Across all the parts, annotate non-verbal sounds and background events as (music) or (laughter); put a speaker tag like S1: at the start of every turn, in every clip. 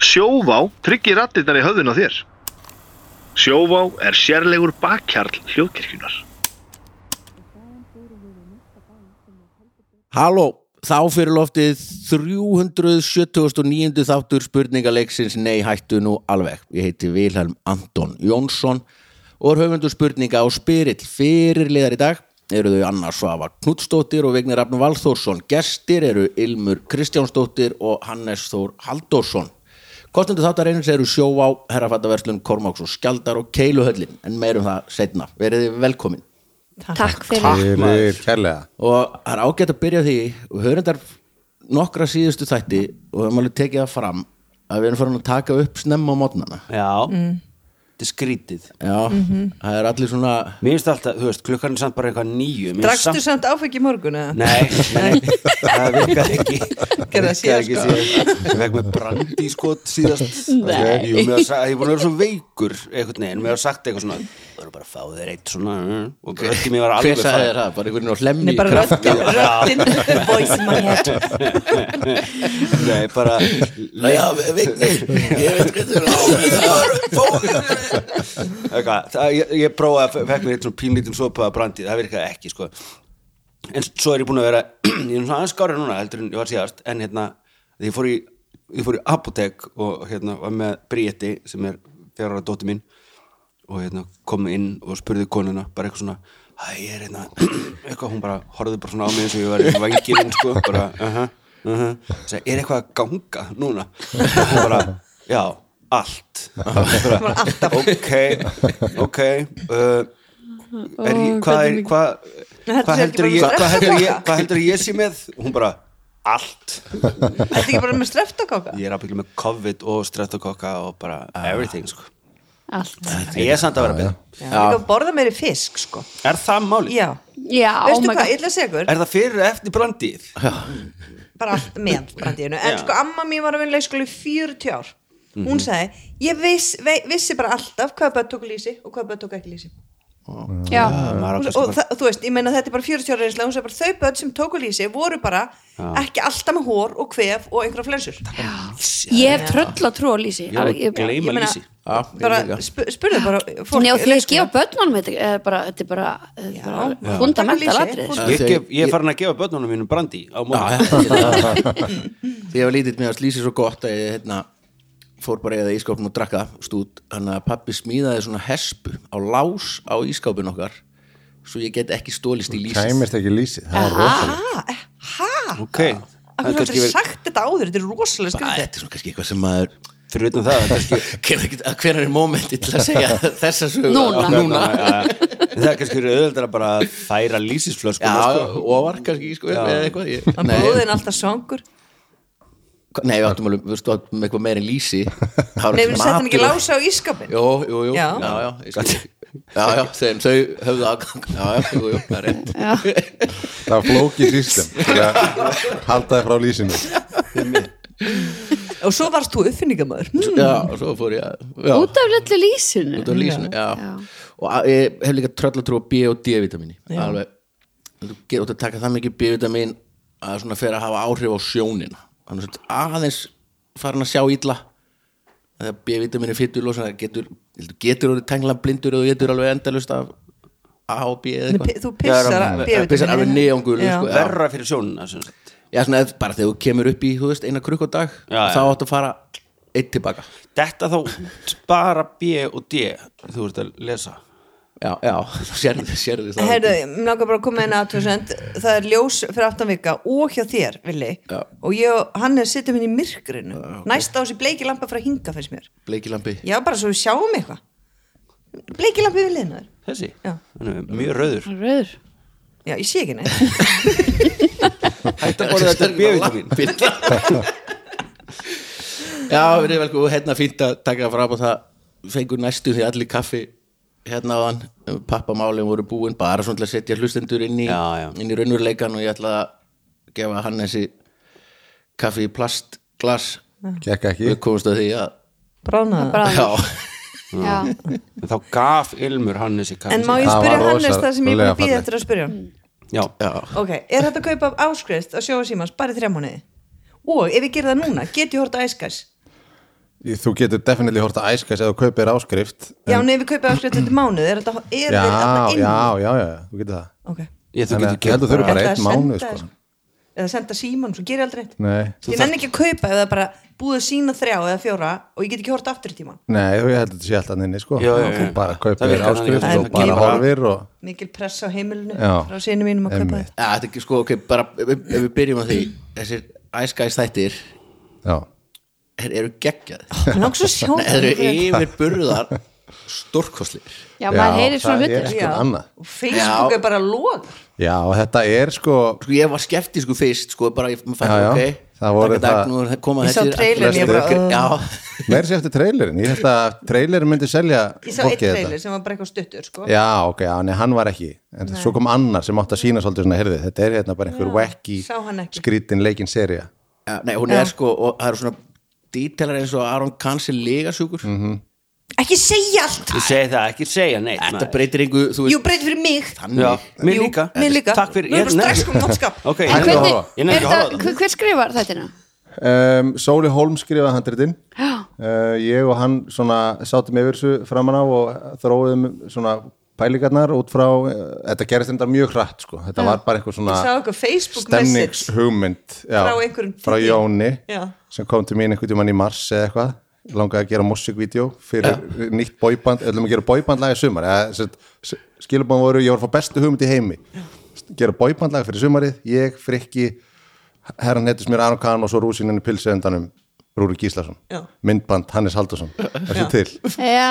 S1: Sjóvá tryggir rattirnar í höfðun á þér. Sjóvá er sérlegur bakkjarl hljóðkirkjunar.
S2: Halló, þá fyrir loftið 379. þáttur spurningaleiksins Nei hættu nú alveg. Ég heiti Vilhelm Anton Jónsson og er höfundur spurninga á Spyrill. Fyrirliðar í dag eru þau Anna Svava Knudsdóttir og Vignir Rafn Valþórsson. Gestir eru Ilmur Kristjánsdóttir og Hannes Þór Halldórsson. Kostendur þáttar einins eru sjóvá, herrafattaverslun, kormáks og skjaldar og keiluhöllin. En meirum það setna. Verið þið velkomin.
S3: Takk fyrir
S4: Fyrir kærlega
S2: og það er ágætt að byrja á því og við höfum þetta nokkra síðustu þætti og við höfum alveg tekið það fram að við erum farin að taka upp snemma á mótnana
S5: Já,
S3: Mm.
S5: þetta er skrítið
S2: já,
S3: Mhm.
S2: það er allir svona
S5: Mér finnst alltaf, þú veist, klukkan er samt bara eitthvað nýju Mér finnst
S3: Drakstu samt áfengi í morgun eða?
S5: Nei, (laughs) nei, það virkaði ekki
S3: Gerði það síðast, sko.
S5: síðast Ég vekk með brandi skot síðast Nei Jú, mér var sa- ég er búin að vera svo veikur einhvern veginn, mér var sagt eitthvað svona Það eru bara að fá þér eitt svona mm, og ekki mér var
S2: hver
S5: alveg
S2: sagði þér það, bara einhvern veginn á hlemmi
S3: Nei,
S2: í
S3: bara
S2: kraft.
S3: röddin, röddin (laughs) Voice in my head
S5: það Nei, bara
S2: já, Vignir, ég veit hvað þú
S5: eitthvað, það, ég, ég prófaði að fekk mér eitt svona pínlítinn sopa að brandi, það virkaði ekki sko. en svo er ég búin að vera (clears throat) ég er svona aðeins skári núna heldur en ég var síðast en hérna, þegar ég fór í ég fór í apotek og hérna var með Bríetti sem er fjárara dóttir mín og hérna kom inn og spurði konuna, bara eitthvað svona hæ, ég er hérna, (clears throat) eitthvað, hún bara horfði bara svona á mig eins og ég var vangirinn, sko, bara, uh -huh, uh -huh. Segi, er eitthvað að ganga núna? og hún bara, já, allt bara, ok, ok uh, er, ég- hvað er, hvað
S3: Þetta
S5: hvað
S3: sé
S5: heldur
S3: ekki
S5: ég,
S3: bara
S5: hvað heldur ég, hvað heldur ég sé með? Og hún bara, allt
S3: Þetta er ekki bara með streptokáka
S5: ég er að byggja með COVID og streptokokka og bara everything, sko
S6: Allt.
S5: ég er samt að vera betur
S3: Líka borða meiri fisk sko
S5: Er það málið?
S3: Já,
S6: Já,
S3: veistu
S6: oh my
S3: hvað,
S6: god.
S3: illa segur
S5: Er það fyrir eða eftir brandið?
S3: bara allt með allt brandiðinu en
S5: Já.
S3: sko amma mín var að vinna leikskóli í 40 ár hún sagði, ég viss, vei, vissi bara alltaf hvað börn tók lýsi og hvað börn tók ekki lýsi
S6: Já.
S5: Ah, Maður
S3: og,
S5: áttast
S3: og
S5: bara-
S3: það, þú veist, ég meina þetta er bara 40 ára reynsla hún sagði bara þau börn sem tóku lýsi voru bara ekki alltaf með hór og kvef og einhverja flensur
S6: Ég hef tröll að trúa lýsi.
S5: Ég er að
S6: Alveg- ég-
S5: gleyma
S3: meina-
S5: lýsi
S2: Já, ég
S3: bara
S2: líka.
S3: sp spurðu bara fólk
S6: Nei, og því að
S3: leikskóla.
S6: gefa börnunum þetta er bara, þetta er bara, þetta er
S3: Já.
S6: bara
S3: Já.
S6: fundamental
S3: Bara lýsi,
S6: atrið.
S3: fór-
S5: Ég,
S2: Þegar-
S5: gef, ég Ah, er farin að gefa börnunum mínum brandi á móti
S3: (laughs)
S2: Þegar ég var lítill með að slýsi svo gott að ég hérna, fór bara eða ískápnum og drakka stút, hann að pappi smíðaði svona hespu á lás á ískápin okkar svo ég get ekki stólist í lýsið
S4: Kæmist ekki lýsið Það er rosalega
S3: ha, ha,
S5: Ok Það er
S3: af hverju
S5: kannski
S3: hefur
S5: verið
S3: sagt þetta áður þetta er rosalega
S2: Bara,
S3: skrítið
S2: þetta er svona kannski eitthvað sem maður
S5: Fyrir utan það, það
S3: (laughs)
S5: er kannski
S2: hvernig er mómenti til að segja þessa sögur
S6: Núna.
S2: Núna.
S5: Já, Það er kannski verið auðvöldar að bara færa lýsisflösku
S2: Já, ofar kannski sko, eða eitthvað ég,
S3: hann
S2: nei,
S3: bróðin alltaf svangur
S2: nei, við áttum alveg, við stóðum með eitthvað meira en lýsi
S3: Nei, við settum hann ekki lása á ískapin
S2: Jó, jú, jú, já,
S3: Já.
S2: já, ég skil. já, já þeim, þau höfðu aðgang Já, já, jú, jú, það er rétt
S4: Það er flókið sístem Haldaði frá lýsinu
S3: og svo varst þú uppfinningamöður
S2: (laughs) Já, og svo fór ég að já,
S6: Út af litlu lýsinu.
S2: út af lýsinu, já, Og að- ég hef líka tröllatrú á B og D-vitamíni Alveg, þú getur út að taka það mikið B-vitamín að svona fer að hafa áhrif á sjónina Þannig að aðeins farin að sjá illa þegar B-vitamin er fyttul og getur, þú getur orðið tengla blindur og þú getur alveg endalust af A og B eða eitthvað
S3: Hm? þú pissar
S5: Já,
S3: að
S5: það-
S3: B-vitamín.
S2: pissar alveg neongul,
S3: Já.
S2: sko.
S5: Verra fyrir sjónuna sem sagt.
S2: Já, svona, ef- bara þegar þú kemur upp í þú veist, eina krukk á dag
S5: Já,
S2: þá
S5: já.
S2: áttu að fara eitt tilbaka
S5: Þetta þá út bara B og D Þú ert að lesa
S2: Já, já, (laughs) þá sérðu, sérðu það
S3: Herðu, mér langar bara að koma inn að aðtöðsend það er ljós fyrir aftan vika og hjá þér, Vili
S2: Já.
S3: og ég, og hann er sittum inn í myrkrinu næst á þessi bleiki lampa frá hinga finnst mér
S2: Bleikilambi
S3: já, bara svo við sjáum eitthvað bleiki lampa við liðnaður
S5: Þessi,
S3: Já.
S5: hann er mjög rauður
S6: Rauður.
S3: já, ég sé ekki neitt (laughs)
S5: Þetta borðið þetta er B-vitamin
S2: (laughs) Já, við erum velkomin hérna fínt að taka fram og það fengur næstu því allir kaffi hérna á hann, pappamálin voru búin bara svona til að setja hlustendur inn í,
S5: Já, já.
S2: Inn í raunurleikan og ég ætla að gefa hann þessi kaffi í plastglas
S4: Gekk ekki
S2: við komumst að því að
S3: bránaða
S6: Bara
S2: Já,
S6: Já.
S5: En Þá gaf Ilmur hann þessi kaffi
S3: en má ég
S4: Það
S3: spyrja
S4: var
S3: Hannes
S4: rosa-
S3: það sem ég er búin
S4: rosalega
S3: að býða
S4: fallegt.
S3: eftir að spyrja hann
S5: Já,
S2: já,
S3: ok, er þetta að kaupa áskrift á sjóa símans bara í þrjá mánuði og ef ég ger það núna, get ég horta æskæs
S4: Þú getur definitely hort að æskast eða kaupir áskrift
S3: Já, nei, við kaupið áskrift þetta mánuð Er þetta er
S4: já,
S3: þetta alltaf inn?
S4: já, já, já, þú getur það
S3: Ok
S5: Ég, þú
S4: Þannig
S5: getur
S4: að ég held að þau eru bara
S3: Ætlaði að
S4: einn
S3: senda
S4: mánuð
S3: þér-
S4: sko.
S3: Eða senda síman, svo gerir ég aldrei neitt
S4: Nei,
S3: Ég nenni ekki að kaupa ef það er bara búið að sína þrjá eða fjóra og ég get ekki hort aftur í tíman
S4: nei, þú ég held að þetta sé alltaf inni sko.
S5: Já, já, já.
S4: Þú bara
S5: Það
S4: kaupir
S5: virkar
S4: áskrift
S3: þannig.
S4: og bara
S3: Það
S4: horfir og
S3: Mikil press á heimilinu
S4: Já.
S3: frá sinni mínum að kaupa þetta
S4: Einmitt.
S2: Ja, þetta er ekki sko, ok, bara ef ef við byrjum að því þessir æskæs þættir
S4: já,
S2: þeir eru geggjað
S3: Mér langar svo
S4: (laughs)
S3: sjón
S2: þeir eru yfirburðar stórkostlir
S6: já, maður heyrir svona
S4: það er
S6: hlutir
S4: ekki- yfir annað.
S3: Og Facebook
S2: Já.
S3: er bara lóð
S4: já, og þetta er sko
S2: sko, ég var skeptísku fyrst sko, bara ég fann,
S4: Já, já.
S2: ok
S4: Það voru
S2: taka dag,
S4: það-
S2: nú er það koma
S3: Ég sá
S2: þessir-
S3: trailerinn,
S2: flestir-
S4: ég
S3: bara, uh.
S2: já,
S4: meir sér eftir trailerin, ég held að trailerin myndi selja
S3: Ég sá eitt
S4: fólki þetta.
S3: trailer sem var bara eitthvað stuttur sko.
S4: já, ok, já, nei, hann var ekki en svo kom annar sem átti að sína svolítið svona herði, þetta er hérna bara einhver
S3: Já,
S4: wacky
S3: sá hann ekki.
S4: skrítin leikin seria
S2: já, nei, hún er sko og það eru svona dítelar eins og Aron Kansi legasjúkur
S4: Mhm.
S3: Ekki segja allt
S5: Ég segi það, ekki segja neitt
S2: þetta
S5: maður.
S2: breytir engu, þú
S3: Jú,
S2: veist
S3: breyti fyrir mig
S5: Já,
S2: þannig
S5: mér
S3: Jú,
S5: líka
S3: Mér líka
S5: Takk fyrir
S3: Nú erum við
S5: ég-
S3: strax komin sko.
S4: (laughs)
S3: náttskap
S5: Ok,
S4: En
S5: ég-
S4: hvernig-
S6: hvernig,
S4: horfa.
S5: Ég nenni
S6: er
S5: ekki að
S6: þetta-
S5: horfa á
S6: hver, hver skrifar þættina?
S4: um, Sóli Holm skrifaði handritin
S6: Já.
S4: uh, ég og hann svona sátum yfir þessu framan á og þróiðum svona pælingarnar út frá uh, þetta gerist þetta mjög hratt sko. þetta var bara einhver
S3: Ég sá
S4: svona
S3: eitthvað Facebook message
S4: stemningshugmynd já,
S3: Frá einhverjum
S4: frá
S3: tíu.
S4: Jóni
S3: Já.
S4: sem kom til mín einhvern tímann í mars eða eitthvað langaði að gera musikvídeó fyrir nýtt bóiband, ætlum að gera bóibandlaga sumar skiluband voru, ég var að fá bestu hugmynd í heimi gera bóibandlaga fyrir sumarið ég, Frikki, herran heitist mér Aron Kahn og svo rúsininni pilsendanum Rúri Gíslason,
S3: Já.
S4: myndband Hannes Haldursson, er þetta til og
S6: Já,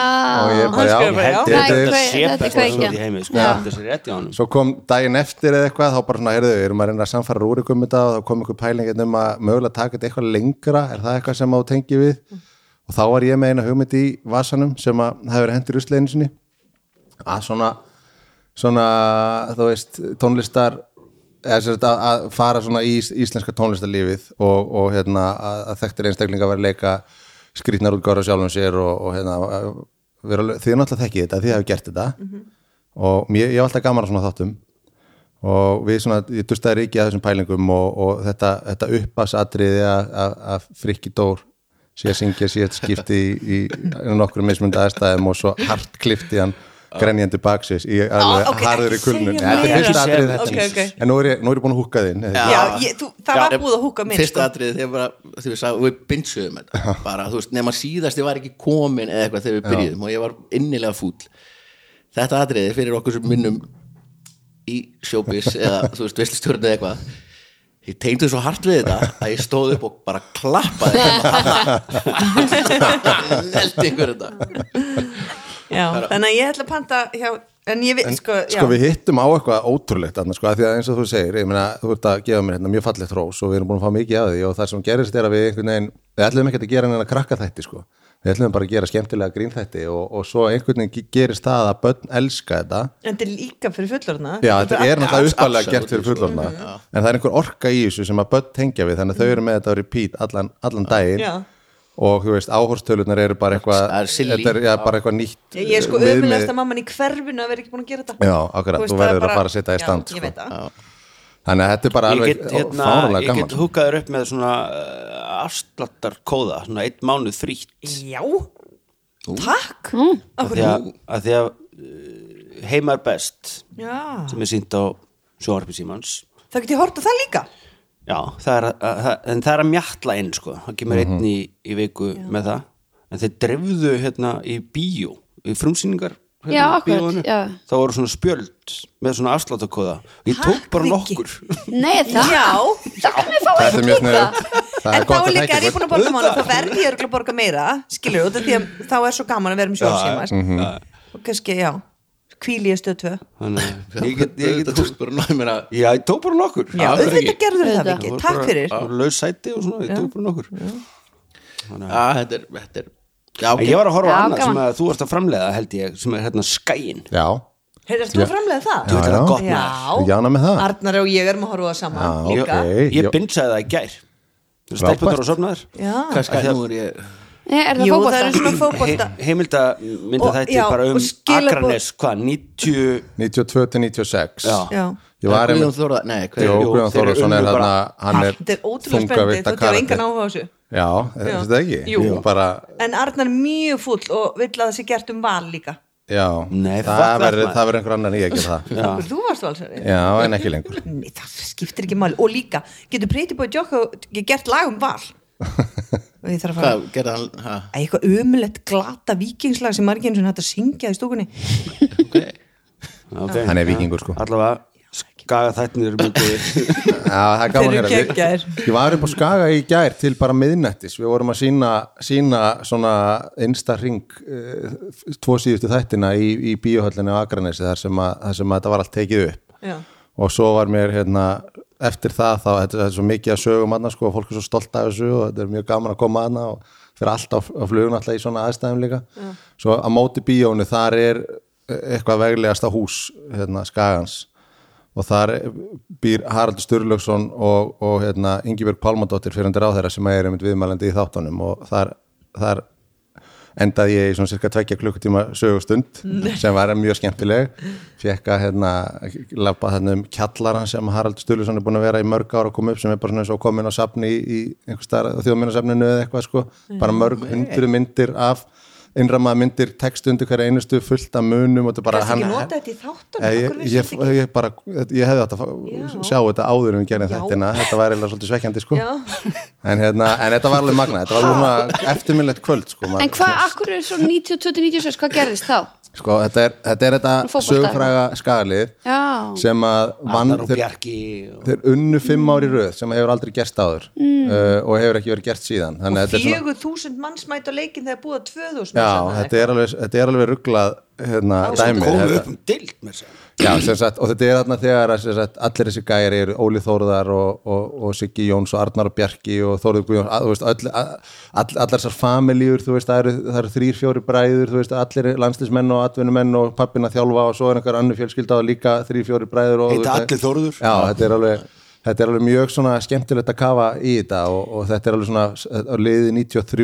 S4: ég bara, já,
S5: Ég held
S4: þetta
S6: já.
S5: þetta
S4: er-
S6: Nei, hver-
S5: sé
S6: þetta er
S5: besta
S6: kveikjan.
S5: svolítið í heimi sko,
S6: Já.
S5: þetta sé rétt í honum
S4: svo kom daginn eftir eða eitthvað þá bara svona, heyrðu, erum að reyna að samfara rúrik um þetta og þá kom einhver pæling hérna um að mögulega taka þetta eitthvað lengra, er það eitthvað sem þú tengi við og þá var ég með eina hugmynd í vasanum sem að það hefur hendur usleginu sinni að svona svona, þú veist, tónlistar eða sér þetta að fara svona í ís- íslenska tónlistarlífið og, og hérna að, að þekktir einstaklinga vera að leika skrýtnar útgára sjálfum sér og, og hérna að vera, alveg- þið er náttúrulega þekkið þetta, þið hafi gert þetta og mér, ég hef alltaf gaman á svona þáttum og við svona, ég dustaði ríkið að þessum pælingum og, og þetta, þetta uppasatriði að, að, að frikki dór sé að syngja síðan skipti í, í nokkur mismund aðstæðum og svo hart klifti hann grenjandi baksins í alveg
S3: Á, Ah, ok,
S4: harður í
S3: ekki
S4: kulnun
S3: segja
S4: þetta
S3: meira.
S4: er fyrsta atriði þetta
S3: Ok, ok.
S4: en nú er, ég, nú er ég búin að húkka þinn
S3: Já, ég, þú, það var búið að húka mér
S2: fyrsta
S3: sko.
S2: atrið þegar bara, þegar við sagðum, við bindsuðum þetta bara, þú veist, nema síðast ég var ekki komin eða eitthvað þegar við byrjuðum og ég var innilega fúll þetta atriði fyrir okkur sem minnum í sjóbis eða, þú veist, veslustjórn eða eitthvað ég tengdu svo hart við þetta að ég stóð upp og bara
S3: (laughs)
S2: klappaði leldi ykkur þetta
S3: Já, Þannig að ég ætla að panta hjá, En ég veit, sko, já
S4: sko við hittum á eitthvað ótrúlegt annars, sko, af því að eins og þú segir, ég meina þú ert að gefa mér hérna mjög fallegt rós og við erum búin að fá mikið af því og það sem gerist er að við einhvern veginn, við ætlum ekki að gera neina krakka þætti sko, við ætlum bara að gera skemmtilega grín þætti og, og svo einhvern veginn ge- gerist það að börn elska þetta
S3: En þetta er líka fyrir fullorna
S4: já, þetta er náttúrulega uppalega
S2: absolutely,
S4: gert fyrir fullorna en það er einhver orka í þessu sem að börn tengja við þannig að þau eru með þetta á repeat allan, allan daginn
S3: Já.
S4: og þú veist, áhorstölunar eru bara eitthvað,
S2: Það er silly.
S4: þetta er, já, bara eitthvað nýtt
S3: Ég er sko
S4: viðmið.
S3: ömulegast að mamman í hverfinu að vera ekki búin að gera þetta
S4: Já, akkurat, þú
S3: það er
S4: verður að fara að setja í
S3: Já,
S4: stand, sko.
S3: Ég veit það
S4: þannig að þetta er bara
S5: Ég
S4: alveg
S5: get, hérna,
S4: fánulega
S5: ég
S4: gaman sko.
S5: get húkaður upp með svona uh, afslattar kóða, svona eitt mánuð frítt
S3: Já, takk
S5: af því að, að, því að uh, heimar best
S3: Já,
S5: sem er sínt á sjónarpi símans
S3: þá get ég hort á það líka
S5: Já, það er að, að, það- en það er að mjalla inn sko, það kemur einn í, í viku með það, en þeir drefðu hérna í bíó, í frumsýningar hérna,
S6: Já,
S5: í
S6: akkurat,
S5: bíóinu.
S6: já.
S5: það voru svona spjöld með svona afsláttakóða ég tók
S3: Takk,
S5: bara
S3: Viggi.
S5: nokkur (laughs)
S6: nei, það
S3: Já,
S6: það kannum við fá
S4: Þetta er mjög
S6: eitt líka
S4: sniðugt.
S3: en
S4: Það er
S3: þá
S4: gott að
S3: líka
S4: þekkja
S3: er ég
S4: hvort.
S3: búin að borga mánu þá verð ég örgulega að borga meira skilur þú, því að þá er svo gaman að vera með
S4: Mhm.
S3: sjónsíma sko. og kannski, já kvíl ég stöð tvö
S5: þannig að ég get, ég
S2: þetta
S5: get
S2: tókst bara náði mér að
S5: já, ég tók bara nokkur
S3: Já,
S2: af hverju
S3: auðvitað
S2: ekki?
S3: gerður það
S6: Auðvitað.
S3: ekki, takk fyrir
S5: laus sæti og svona, ég tók bara nokkur en
S2: að þetta er, þetta er já, ok,
S5: ég var að horfa á
S6: Já,
S5: annað sem
S6: gaman.
S5: að þú varst að framleiða held ég, sem er hérna skæin
S4: Já,
S3: Heyrðu, ertu að framlega það?
S5: Þetta er
S4: já.
S5: að gott
S3: Já,
S5: maður
S4: Ekki ánægð með það?
S3: Arnar og ég erum að horfa á það saman
S4: Já,
S3: líka
S4: ok.
S5: ég,
S4: Jó.
S5: ég bindsaði það í gær stelpundur og sofnaður
S3: Já,
S2: hvað skæði nú er ég
S6: Nei, er það
S3: jú, það eru
S6: fókbólta?
S3: svona fótbolta
S5: He- heimilda mynda
S3: Og-
S5: þætti
S3: já,
S5: bara um
S3: og skilaboð-
S5: Akranes, hvað, 90
S4: 92 til 96
S5: Já.
S3: Já,
S4: Ég var
S2: Guðjón
S4: einmitt
S2: Þóra, nei, hver
S4: Jó,
S5: Jú,
S4: Guðjón
S5: þeir
S4: Þórason
S5: unnu
S4: er
S5: bara
S4: hérna hann er
S3: þetta er ótrúlega spennandi,
S4: þungavita
S3: þú hefur engan
S4: karakter
S3: áhuga á þessu
S4: Já, er
S3: Já.
S4: þetta ekki?
S3: Jú.
S4: Ég Bara,
S3: en Arnar er mjög fúll og vill að það sé gert um val líka
S4: já,
S5: Nei, fuck
S4: það
S5: that,
S4: verður
S5: maður.
S4: það verður einhver annan í að gera það.
S5: Já.
S3: þú varst valsari
S4: Já, en ekki
S3: (laughs)
S4: lengur.
S3: Nei, það skiptir ekki máli og líka, getur Pretty Boy Jocko gert lag um val og ég þarf að fara
S2: Hvað gerði hann? Ha?
S3: Æ, eitthvað umlegt glata vikingslag sem margir eins og hægt að syngja í stúkunni
S5: okay.
S4: Hann er víkingur, sko.
S5: allavega skaga þættinir eru mjög góðir
S4: Já, það er gaman
S3: Þeir
S4: að
S3: eru
S4: heyra.
S3: geggjaðir.
S4: Við- Ég var upp á Skaga í gær til bara miðnættis. Við vorum að sína, sína svona einsta ring uh, tvo síðustu þættina í, í bíóhöllinu á Akranesi þar sem, að, þar sem að þetta var allt tekið upp.
S3: Já.
S4: og svo var mér hérna eftir það þá, þetta þetta er svo mikið að sögum aðna sko, og fólk er svo stolt af þessu og þetta er mjög gaman að koma aðna og fyrir allt á, á flugun alltaf í svona aðstæðum líka svo að móti bíónu þar er eitthvað veglegasta hús hérna, skagans og þar býr Haraldur Sturlaugsson og, og hérna, Ingibjörg Pálmadóttir fyrir hendur á þeirra sem er einmitt viðmælandi í þáttunum og þar, þar endaði ég í svona cirka tvekja klukkutíma sögustund
S3: Mm.
S4: sem var mjög skemmtileg fekk að hérna lappa þarna um kjallaran sem Harald Stulusson er búin að vera í mörg ára að koma upp sem er bara svona eins og komin á safni í, í einhvers staðar á þjóðminnarsafninu eða eitthvað sko bara mörg hundru myndir af innramaða myndir, textu undir hverja einustu fullt af munum og þetta bara
S3: Gast ekki notað þetta í þáttunum?
S4: Ég,
S3: Af hverju
S4: ég,
S3: vissi þetta
S4: ég, bara, ég hefði átt að fá, sjá þetta áður um gerðin
S3: Já.
S4: þættina, þetta var eiginlega svolítið svekkjandi sko.
S3: Já.
S4: (laughs) en, hérna, en þetta var alveg magna þetta var svona eftirminnlegt kvöld sko, maður-
S6: En hvað, akkur er svo 92-96, hvað gerðist þá?
S4: sko, þetta, er, þetta er þetta
S6: Fótbolta.
S4: sögufræga skalið
S6: Já.
S4: sem að (laughs) vann
S5: Arnar og
S4: þeir,
S5: Bjarki og...
S4: þeir unnu fimm
S3: Mm.
S4: ári röð sem hefur aldrei gerst áður uh, og hefur ekki verið gert síðan þannig að þetta er svona
S3: fjögur þúsund manns mæta leikin þegar búið að tvö þúsund
S4: Já, þetta er alveg, þetta er alveg rugglað hérna, dæmi
S5: komu
S4: þetta,
S5: upp um dild með þess að
S4: já, sem sagt, og þetta er þarna þegar að, sem sagt, allir þessi gæri eru Óli Þórðar og, og, og Siggi Jóns og Arnar og Bjarki og Þórður Guðjóns að, þú veist, öll, að, all, allar þessar familjur þú veist, það eru, það eru þrýr, fjóri bræður þú veist, allir landslismenn og atvinnumenn og pappina þjálfa og svo er einhver annu fjölskylda og líka þrýr, fjóri bræður og, þú
S5: Heita
S4: veist,
S5: allir Þórður.
S4: já, þetta er alveg Þetta er alveg mjög svona skemmtilegt að kafa í þetta og, og þetta er alveg svona á liði 93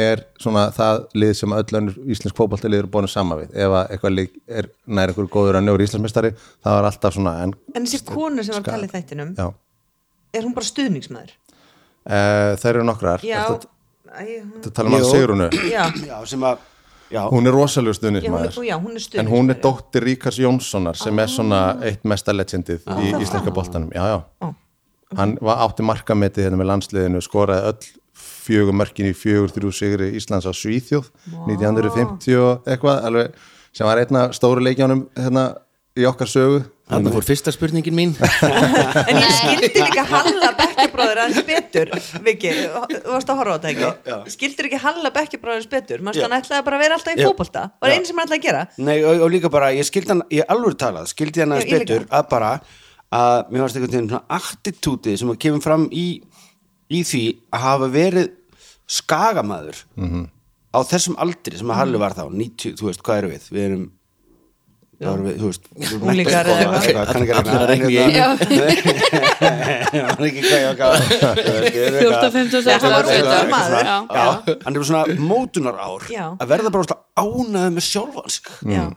S4: er svona það lið sem öll önnur íslensk fótballtalið eru bónu saman við ef að eitthvað lið er nær einhver góður að njóra íslensmestari það var alltaf svona en,
S3: en þessi konu sem var að tala í þættinum
S4: já,
S3: er hún bara stuðningsmaður?
S4: uh, þær eru nokkrar
S3: Já,
S4: Ertu-
S3: Æ, hún,
S4: ertu að tala um
S5: Jú.
S4: að Sigrunu
S3: já,
S5: já, sem að já,
S4: hún er
S3: já, hún,
S4: rosalega
S3: er-
S4: stuðnismæður
S3: já, hún er
S4: en
S3: stuðningsmaður
S4: hún er dóttir Ríkars Jónssonar sem er svona eitt mesta legendið í íslenska boltanum já, já.
S3: Ó.
S4: hann var átti markametið hérna með landsliðinu skoraði öll fjögur mörkin í fjögur þrjú sigri Íslands á Svíþjóð 1950 og eitthvað alveg, sem var einna stóru leikjánum hérna, í okkar sögu
S2: Þannig fór fyrsta spurningin mín
S3: en ég skildi líka Halla Bekkjabróður aðeins betur Viki, þú varst að horfa á þetta ekki
S5: Já, já.
S3: skildir ekki Halla Bekkjabróður aðeins betur mannst
S5: Já.
S3: hann ætlaði bara að vera alltaf í
S5: Já.
S3: fótbolta var
S5: Já.
S3: einn sem hann ætlaði að gera
S5: nei, og, og líka bara, ég skildi hann ég alveg talað, skildi hann
S3: Já,
S5: aðeins
S3: ég líka.
S5: betur að bara, að mér varst einhvern veginn svona attitútið sem að kemur fram í í því að hafa verið skagamaður -hmm. á þessum aldri sem að Halli var þá 90, þú veist, hvað erum við? Við erum þá erum við, þú veist
S3: Unglingar eða eitthvað.
S5: kann ekki að
S2: Allir að reikna í
S5: einu
S2: einu.
S5: (laughs) ég man ekki hvað ég var gaf
S6: 14, 15, 16
S3: var ungur maður.
S6: Já.
S5: já, hann er svona mótunar ár
S3: Já.
S5: að verða bara ánæðið með sjálfansk
S3: Já.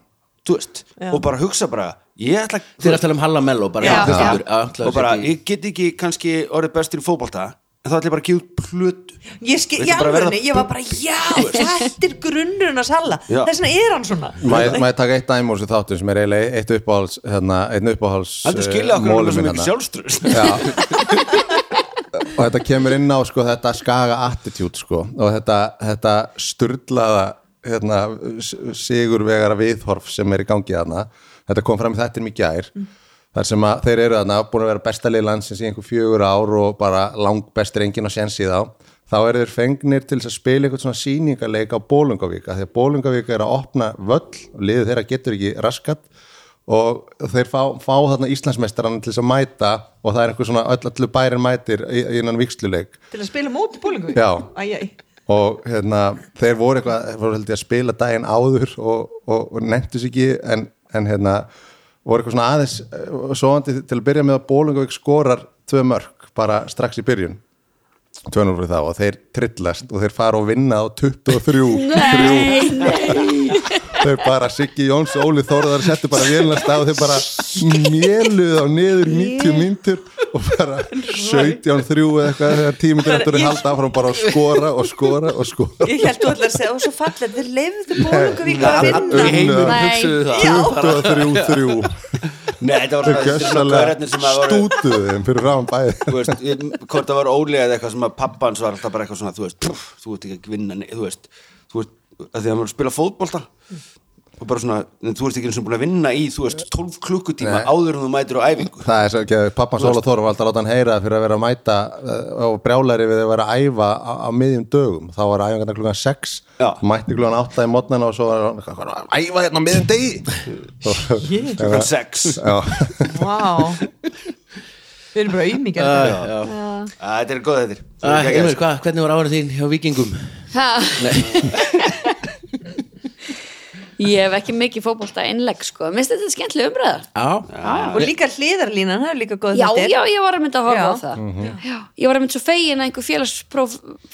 S5: þú veist,
S3: Já.
S5: og bara hugsa bara ég ætla
S2: Þeir eru að tala um Halla Mello bara,
S6: Já.
S2: Þú
S6: Já.
S2: stendur, að ætla að
S5: og bara,
S2: setja í-
S5: ég get ekki kannski orðið bestur í fótbolta en þá ætla ég bara að gefa út plötu
S3: ég, skil,
S5: Viltu
S3: já,
S5: bara verða
S3: alveg, ég var bara, já, þetta er grunnurinn að Halla
S5: Já.
S3: þess vegna er hann svona
S4: maður maður taka eitt dæmi úr þessu þáttum sem er eiginlega eitt uppáhals hérna, einn eh, uppáhals
S5: hann er
S2: Eh,
S5: skilja okkur alveg sem
S4: hérna?
S5: ekki sjálfströð
S4: sjálf og þetta kemur inn á sko, þetta skaga attitude sko, og þetta, þetta sturdlaða hérna, sigurvegara viðhorf sem er í gangi þarna þetta kom fram í þættinum í gær þar sem að þeir eru þarna búin að vera bestalið landsins í einhver fjögur ár og bara langbestir enginn á sjensi þá þá eru þeir fengnir til þess að spila einhvern svona sýningarleik á Bólungavík af því að Bólungavík er að opna völl og liðið þeirra getur ekki raskat og þeir fá, fá þarna Íslandsmeistarann til þess að mæta og það er einhver svona öll, öllu bærin mætir í- innan viksluleik
S3: til að spila móti bólingu
S4: Já.
S3: Æ, æ.
S4: og hérna, þeir voru eitthvað þeir voru held ég að spila daginn áður og, og, og nefntu sig ekki en, en hérna, voru eitthvað svona aðeins eh, svoandi til að byrja með að Bólungavík skorar tvö mörg bara strax í byrjun 2-0 fyrir þá og þeir trillast og þeir fara og vinna á 23
S6: Nei, nei
S4: þau bara Siggi Jóns og Óli Þórðar settu bara vélina af stað og þau bara mjöluð á niður 90 myndur og bara 17-3 eða eitthvað þegar tímyndur eftir að halda áfram bara að skora og skora og skora
S3: Ég held þú allar að segja, og svo fallet, þið leifðu Bólungavík að
S5: Allir
S3: vinna.
S5: í heiminum
S6: Nei.
S5: hugsuðu það
S4: 23-3
S5: (laughs) Nei, þetta var
S4: þau
S5: svona- svona gaurarnir sem
S4: gjössalega
S5: að voru
S4: stútuðu þeim fyrir ráðan
S5: þú
S4: bæði
S5: veist, ég, hvort það var ólega eða eitthvað sem að pappans var alltaf bara eitthvað svona þú veist, pff, þú ert ekki að vinna nei, þú veist, þú veist, að því að maður spila fótbolta og bara svona, en þú ert ekki eins og búin að vinna í, þú veist, 12 klukkutíma áður en þú mætir á æfingu
S4: Það er svo ekki að pappan Sóla Þóra var alltaf að láta hann heyra fyrir að vera að mæta uh, og brjálæri við að vera að æfa á, á miðjum dögum. Þá var æfingarna klukkan 6,
S5: Já.
S4: mætti klukkan 8 í mótnana og svo var hann "Hvað var að æfa hérna á miðjum degi.
S5: klukkan 6
S4: (laughs) Já,
S7: Vá Við erum bara auðmikið
S5: Þetta er góð þetta er. Þú
S2: Ah,
S5: ert
S2: Emil,
S5: ekki
S2: hva, hvernig var ára þín hjá vikingum?
S6: Ég hef ekki mikið fótbolta innlegg sko Minnst þetta skemmtileg umræða?
S2: Já,
S3: Og líka hliðarlínan, það er líka góð
S6: Já,
S3: þáttir.
S6: já, ég var að mynda að
S3: Já.
S6: horfa á það já, Ég var að mynda svo fegin að einhver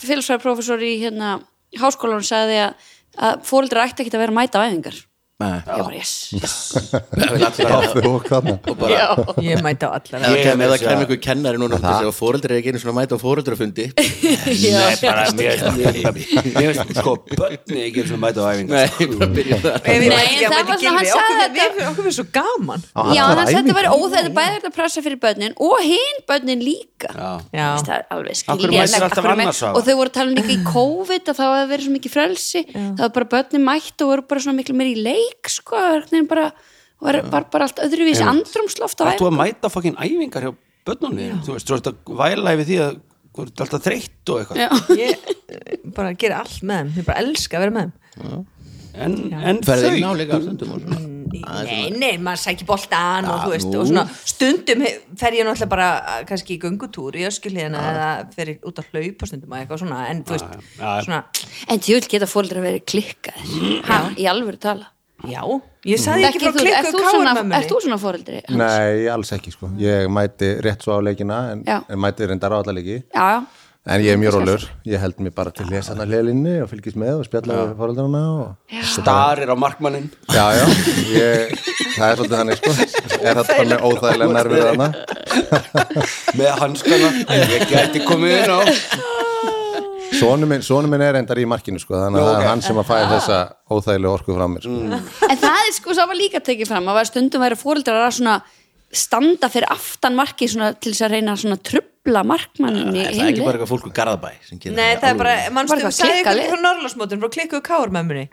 S6: félagsfræðprofessor í hérna, háskólanum sagði að, að fóreldrar ætti ekki að vera að mæta á æfingar
S2: Nei.
S6: Ég bara, yes, yes
S4: þá þau og þarna.
S2: bara
S7: Ég mæti á allar
S5: Ég-
S2: Ef
S5: meira
S2: það kemur
S5: að segja-
S2: einhver kennari núna og segja að foreldrar er ekki einu svona að mæta á foreldrafundi (laughs)
S5: Nei, bara mér Mér finnst sko, börni ekki eins og mæta á æfingu
S2: Nei, bara byrja það
S3: Nei,
S6: Nei, en það var svona, hann sagði þetta-
S7: Okkur við svo gaman
S4: Á
S6: Já,
S4: allar
S6: hann sagði þetta
S4: æfingar.
S6: væri óþægt bæði þetta pressa fyrir börnin og hinn börnin líka
S5: Já.
S7: Já.
S6: Veist, það er alveg
S5: Af hverju
S6: skiljanlegt.
S5: mætir alltaf
S6: Af hverju mæ-
S5: annars á það?
S6: og þau voru talin líka í COVID að það hafa verið svo mikið frelsi það var bara börnin mætt og voru bara svona miklu meir í leik sko, hvernig bara var bara, bara allt öðruvísi andrumsloft
S5: Þú
S6: á æfingum.
S5: að mæta fokkin æfingar hjá börnunni Þú veist, þú veist að væla yfir því að þú ert alltaf þreytt og eitthvað
S6: Já.
S7: Ég bara gera allt með þeim Ég bara elska að vera með þeim
S5: En, en
S2: Ferði inn á
S5: þau
S2: líka stundum og svona
S3: Nei, nei, maður sækir boltan og þú veist,
S2: nú.
S3: og svona stundum he- fer ég náttúrulega bara að- kannski í göngutúr í öskjuliðina eða fer ég út að hlaupa stundum að eitthvað svona, en þú veist,
S5: já.
S3: svona,
S6: en tjóðil geta fóldra verið klikkaðir ha, í alvöru tala
S3: já, ég
S7: Mm.
S3: sagði ekki frá
S6: Þekkir þú- ert
S3: klikku
S6: þú svona-
S3: káurmömmunni.
S6: ert þú svona fóldri?
S4: Nei, alls ekki sko. Ég mæti rétt svo á leikina en,
S6: Já.
S4: en mæti reyndar á alla leiki.
S6: já, já.
S4: En ég er mjög rólur. Ég held mér bara til lesana hlilinni og fylgist með og spjalla við foreldrana og...
S5: starir á markmannin
S4: Já, já, ég, það er svolítið þannig sko Er þetta bara með óþægilega nervið þarna
S5: með
S6: (laughs)
S5: hanskana Ég gæti komið inn á
S4: Sónu minn, sonu minn er endar í markinu sko Þannig að það
S5: ok.
S4: er hann sem að fæði þessa óþægilegu orku frá mér sko.
S6: En það er sko, það var líka tekið fram að var stundum væri fóreldrar að svona standa fyrir aftan marki svona, til þess að reyna svona að trubla markmanninni
S2: Það er
S6: heimli.
S2: ekki bara eitthvað fólk úr Garðabæ sem gerir
S3: Nei, það er bara,
S6: Bara
S3: mannstu,
S6: eitthvað
S3: þú sagði
S6: klikkað
S3: eitthvað
S6: lið.
S3: frá Norrlandsmótin, frá klikku káurmömmunni.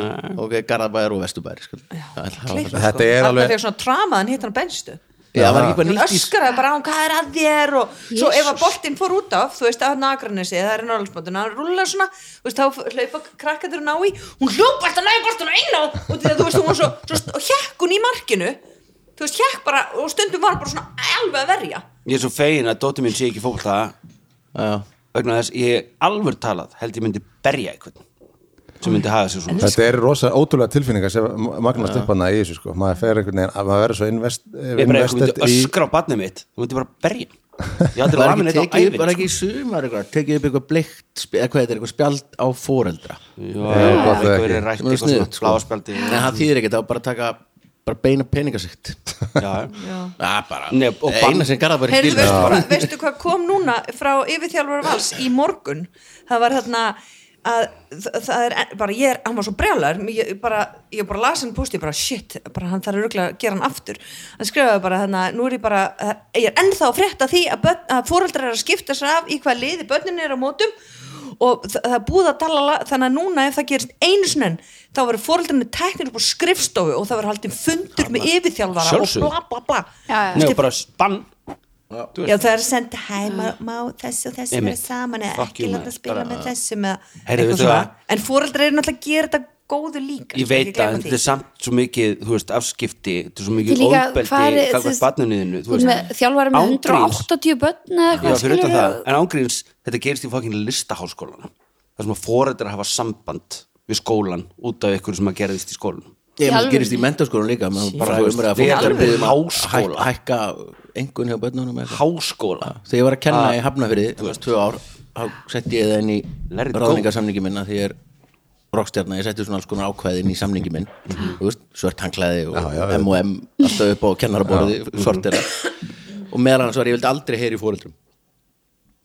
S2: það. Ok, Garðabæjar og Vesturbæjar sko. Það er- það var-
S4: Þetta er
S3: Þarna
S4: alveg
S3: þegar svona tramaðan hitt hann á benstu.
S2: Já, það var ekki bara
S3: Hún
S2: nýtt í
S3: öskraði bara á hann, hvað er að þér og svo
S6: Jesus.
S3: ef að boltinn fór út af, þú veist að nagranesi, það er norðlagsbóttin, hann rúlar svona þú veist, þá hlaupa krakkaður ná í hún hljópa alltaf næði boltinn inn á og því að þú veist, hún var svo, svo st- og hjekk hún í markinu þú veist, hjekk bara, og stundum var hún bara svona alveg að verja
S5: Ég er svo fegin að dóttir mín sé ekki fólta
S2: Já.
S5: vegna þess ég alvör talað held ég myndi berja eitthvað sem myndi hafa sér svona
S4: Þetta er rosa ótrúlega tilfinningar sem magnast upp hana í þessu sko maður fer einhvern veginn, að maður verður svo invest,
S5: Ég bara eitthvað
S4: investið
S5: myndi
S4: í
S5: öskra á barnið mitt þú myndi bara berja Ég aldrei
S2: (laughs) Var
S5: lamin
S2: ekki
S5: eitt á sko.
S2: tekið upp,
S5: æfin
S2: var ekki í sumar eitthvað, tekið upp eitthvað bleikt sp- eða hvað þetta er, eitthvað spjald á foreldra
S5: Já,
S4: gott
S5: eitthvað
S4: það
S5: verið
S4: ekki.
S5: rætt
S2: sem eru
S5: eitthvað svona
S2: sniðugt sko. (laughs)
S5: bláspjaldi
S2: En það þýðir ekkert, það var bara að taka bara beina
S5: (laughs)
S2: peningasikt
S5: Já,
S2: Það bara,
S5: Nei, og bann-
S2: eina sem Garðabæjar
S3: Heyrðu,
S2: skilur
S3: veistu, hvað, veistu hvað kom núna frá yfirþjálfur vals í morgun það var þarna að þ- það er en- bara, ég er, hann var svo brjálar ég bara, ég bara las hann posti bara shit, bara hann þarf örugglega að gera hann aftur hann skrifaði bara þarna, nú er ég bara ég er ennþá að frétta því að, börn, að foreldrar er að skipta sér af í hvað liði börnin er á mótum og þa- það er búið að tala la- þannig að núna ef það gerist einu sinni þá verður foreldrarnir tæknir upp á skrifstofu og það verður haldin fundur með yfirþjálfara og
S5: Sjálfsögðu.
S3: bla bla bla
S6: Já, já.
S5: Nei, og bara spann Þú
S3: Já
S5: veist,
S3: það er senda heim má, má þessi og þessi
S5: Einmitt.
S3: vera saman eða
S5: Fuck
S3: ekki
S5: you,
S3: láta
S5: maður.
S3: spila
S5: Bara-
S3: með þessum eða
S5: Heyrðu,
S3: eitthvað
S5: veistu
S3: svona.
S5: það?
S3: en fóreldrar eru náttúrulega að gera þetta góðu
S5: Ég
S3: líka sko,
S5: veit
S3: gleyma
S5: að þetta
S3: því.
S5: er samt svo mikið, þú veist, afskipti Þetta er svo mikið
S6: Þið líka,
S5: óbeldi
S6: hvað er-
S5: Hvað er
S6: þið-
S5: barninniðinu
S6: Þú veist, með þjálfari með 180 börn eða
S5: Já,
S6: eitthvað
S5: fyrir utan það,
S6: skilurðu?
S5: en ángríns þetta gerist í fokkin listaháskólan þar sem að foreldrar hafa samband við skólan út af ykkur sem að gerðist í skólanum
S2: Ég maður
S6: alvöru?
S2: gerist í mentaskólan líka maður bara
S5: Þú veist,
S2: umræða
S5: við
S2: fólk
S5: erum
S2: að biðja um að
S5: háskóla.
S2: hæk- hækka engun hjá börnunum eða eitthvað.
S5: Háskóla
S2: þegar ég var að
S4: Ah.
S2: kenna í Hafnafyrði tvö ár, þá setti ég það inn í
S5: Let it go.
S2: ráðningarsamningi minna því ég er rockstjarna, ég setti svona alls konar ákvæðin í samningi minn Þú veist, svört hanglaði og
S4: Mhm. Já, mhm. já, já.
S2: M&M alltaf upp á kennaraborði sortera og meðal hans var ég vildi aldrei heyri í fóreldrum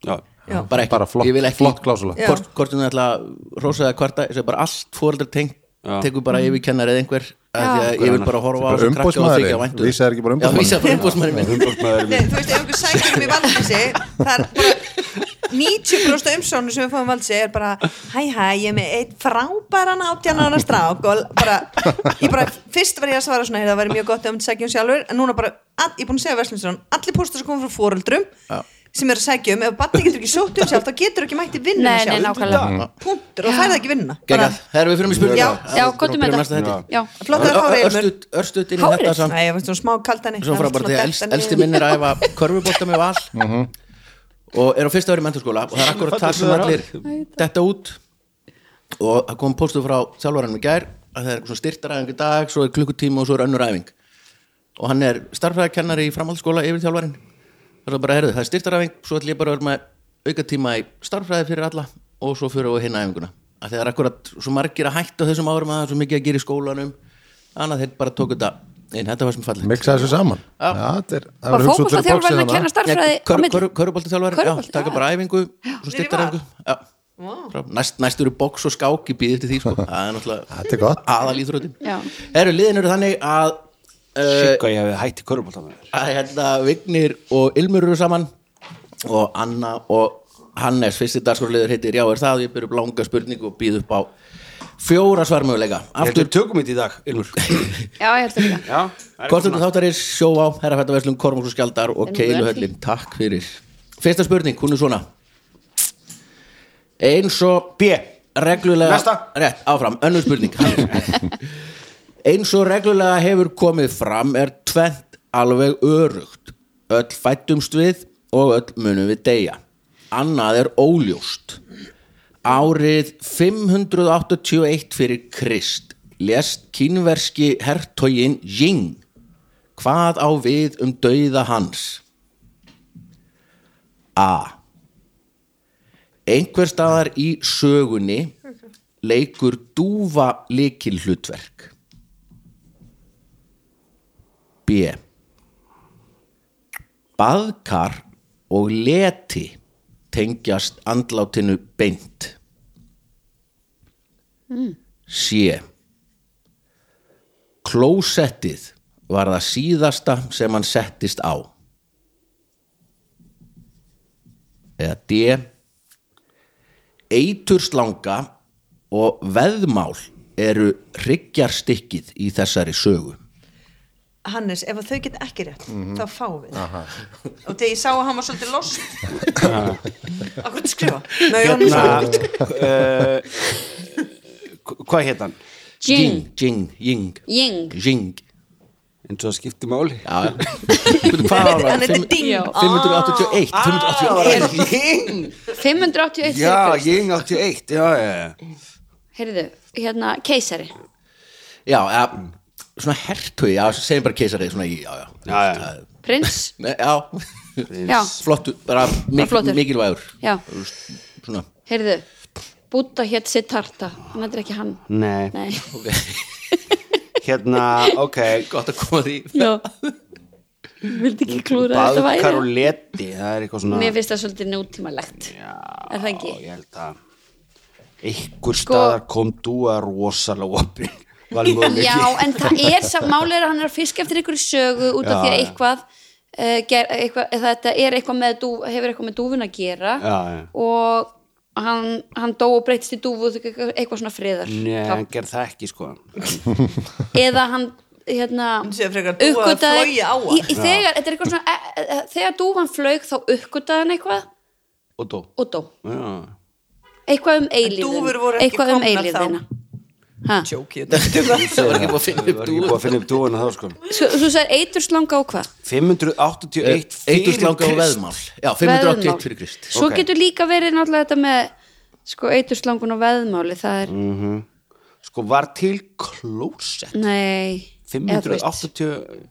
S5: já,
S3: Já.
S2: bara ekki,
S4: Bara flott-
S2: ég vil ekki
S4: flott klásula.
S3: Já.
S2: hvort, hvort hún ætla að hrósa eða kvarta ég segi bara allt fóreldar tengt
S5: Já.
S2: tekur bara
S4: Mhm.
S2: yfir kennar eða einhver af því að ég vil bara horfa á
S4: Bara
S2: þessa krakka og
S4: umboðsmaðurinn.
S2: þykja væntu.
S4: Vísa er ekki bara
S2: Já, vísa er bara umboðsmaðurinn minn.
S5: umbóðsmaður
S3: Nei, þú veist, ef einhver sækir um í valdísi það er bara 90% umsónu sem við fáum valdísi er bara hæ hæ, ég er með eitt frábæran átján ára strák og bara, ég bara, fyrst var ég að svara svona "Heyrðu, það væri mjög gott ef um þetta sækjum sjálfur en núna bara, all, ég er búin að segja verslumstjón allir póstur sem komum frá fóreldrum sem er að sækja um, ef batni getur ekki sótt um sjálf þá getur ekki mætti vinna
S6: Nei, nei, nákvæmlega
S3: punktur og færði ekki vinna bara,
S2: Gekkað, herru við fyrir mig spurninga
S3: Já.
S6: Já, gott um
S2: næsta
S6: þetta
S2: þetta
S6: Já,
S3: flott að það er hárið Ilmur.
S2: Örstuð, örstuð inn í
S6: Hárið?
S2: þetta samt
S3: Nei, ég veist svona smá kaldan
S2: svo frá bara því að elst, elsti minn er að æfa körfubólta með val og er á fyrsta ári í menturskóla og það er akkurat það sem allir detta út og það kom póstuð frá þjálfaranum í gær að það er svona styrtaræðing í dag svo er klukkutíma og svo er önnur æfing og hann er starfræðakennari í framhaldsskóla yfir þjálfarin það er bara, heyrðu, það er styrtaræfing svo ætlum ég bara að vera með auka tíma í starfræði fyrir alla og svo fyrir við hinn æfinguna að það er akkurat svo margir að hætta á þessum árum að það er svo mikið að gera í skólanum annað þeir bara tóku þetta inn, þetta var sem fallið
S4: Miksa þessu saman
S2: Já.
S4: þetta er- það
S6: bara
S4: verður hugsað
S6: fókvast að
S4: fyrir boxið
S6: þjálfarinn að
S4: þarna.
S6: kenna starffræði á milli
S2: Köruboltaþjálfari, já,
S6: Körfubolti,
S2: taka
S6: já.
S2: bara æfingu svo styrtaræfingu já. Frá- næst, næst eru box og skák í bíð eftir því sko.
S4: (laughs)
S2: það er
S4: Þetta er
S2: náttúrulega
S4: gott.
S2: aðalíþrótin
S6: Já.
S2: eru liðin eru þannig að
S5: Eh,
S2: uh,
S5: Sikka ég hefði hætti körubóltamæður
S2: að hérna Vignir og Ilmur eru saman og Anna og Hannes fyrsti dagskorliður heitir já er það ég byrju upp langa spurningu og býð upp á fjóra svarmöguleika aftur
S5: Aftur tökum við þetta í dag, Ilmur
S6: Já, ég held um að líka
S5: (laughs) Já, það er
S2: Kortundu
S5: svona-
S2: þáttarins, sjóvá, herrafættaverslum, kormóks og skjaldar og
S6: nú
S2: keiluhöllin, takk fyrir Fyrsta spurning, hún er svona Eins og B, reglulega
S5: Næsta.
S2: Rétt, áfram, önnur spurning (laughs) Eins og reglulega hefur komið fram er tvent alveg örugt Öll fættumst við og öll munum við deyja Annað er óljóst Árið 581 fyrir Krist lést kínverski hertogin Ying Hvað á við um dauða hans? A. Einhver staðar í sögunni leikur dúfa likil hlutverk. B. Baðkar og leti tengjast andlátinu beint. C. Klósettið var það síðasta sem hann settist á eða D Eiturslanga og veðmál eru hryggjarstykkið í þessari sögu
S3: (laughs) Hannes, ef að þau get ekki rétt
S2: Mhm.
S3: þá fáum við og þegar ég sá að hann var svolítið
S2: (laughs)
S3: lost að hvernig skrifa Nei, hann
S5: Hérna, eh, hva- Hvað hétt hann?
S6: Jing,
S2: Jing, jing,
S6: jing
S2: jing
S5: Eins og það skipti máli
S6: (laughs)
S2: Já, Veitu hvað var
S3: Hann
S2: það?
S3: heitir
S2: Fimm-
S3: Ding.
S2: 581
S6: Ah,
S2: 581
S5: Jing
S6: 581
S5: Já,
S6: fyrir Krist.
S5: Jing 81 Já, já, já
S6: Heyrðu, hérna, keisari
S2: Já, ja, svona hertugi, já, segjum bara keisari svona í, já, já,
S5: Já, já.
S2: Það-
S6: Prins,
S2: Nei, já,
S6: já,
S2: flottu, bara mik
S6: flottur.
S2: mikilvægur
S6: já
S2: svona
S6: Heyrðu, Búta hétt Siddhartha Hann er ekki hann
S5: Nei,
S6: Nei,
S5: hérna, ok
S2: gott að koma því
S6: já (laughs) Vildi ekki klúra að þetta
S5: Baðkar og
S6: væri
S5: leti, það er eitthvað svona
S6: Mér finnst það svolítið nútímalegt
S5: Já,
S6: Er það ekki? Sko-
S5: Ég held að einhver staðar kom þú að rosalega
S6: (laughs)
S5: opin var möguleiki
S6: Já, en
S5: (laughs)
S6: það er samt málið er að hann er að fiska eftir einhverju sögu út
S5: Já,
S6: af því að
S5: já.
S6: eitthvað, uh, ger, eitthvað þetta er eitthvað með dú, hefur eitthvað með dúfun að gera
S5: Já, já.
S6: og hann, hann dó og breytist í dúfu og eitthvað eitthvað svona friðar
S5: Nei,
S6: Já.
S5: hann gerð það ekki sko
S6: eða hann hérna
S3: sé frekar að dúfa
S6: uppgötaði-
S3: flói á hann.
S6: í, í þegar, þetta er eitthvað svona e, e, e, þegar dúfan flög þá uppgötaði hann eitthvað
S5: og dó
S6: og dó
S5: Já,
S6: eitthvað um
S3: dúfur
S6: eilíðina
S3: voru ekki
S6: eitthvað um
S3: komnar
S6: eilíðina Ha.
S3: sjóki
S2: það var ekki búið að finna
S5: það
S2: upp
S5: var ekki
S2: dúr
S5: búið að finna upp dúana þá sko
S6: svo, svo sagði eiturslanga og hvað
S5: 581 fyrir
S2: Eiturslanga og
S5: Krist.
S2: veðmál Já, 581
S6: Veðmál.
S2: fyrir Krist
S6: svo
S5: Ok.
S6: getur líka verið náttúrulega þetta með sko eiturslángun og veðmáli það er,
S5: Mm. Sko var til klósett
S6: nei eða þú veist.
S5: 580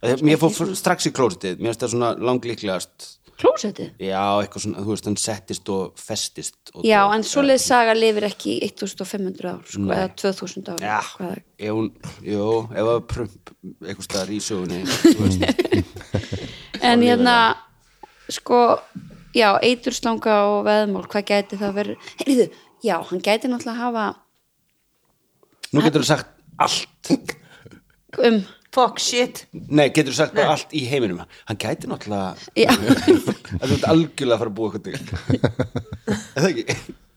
S5: Að því- Mér fór fr- strax í klósettið, mér finnst það svona langlíklegast
S6: klósettið
S5: já, eitthvað svona, þú veist, hann settist og festist og
S6: Já,
S5: og-
S6: en svoleið saga lifir ekki í 1500 ár, sko,
S5: Nei.
S6: eða 2000 ár
S5: Já,
S6: hvað,
S5: ef hún, jú, ef að prump eitthvað staðar í sögunni
S6: (laughs)
S5: þú veist,
S6: En hérna, sko já, eiturslanga og veðmál hvað gæti það verið, heyrðu já, hann gæti náttúrulega hafa
S5: nú getur þú sagt allt
S6: um,
S3: fuck shit
S5: nei, getur þú sagt bara allt í heiminum hann gæti náttúrulega
S6: já
S5: að (laughs) þú ert algjörlega að fara að búa
S6: (laughs)
S5: eitthvað til eða ekki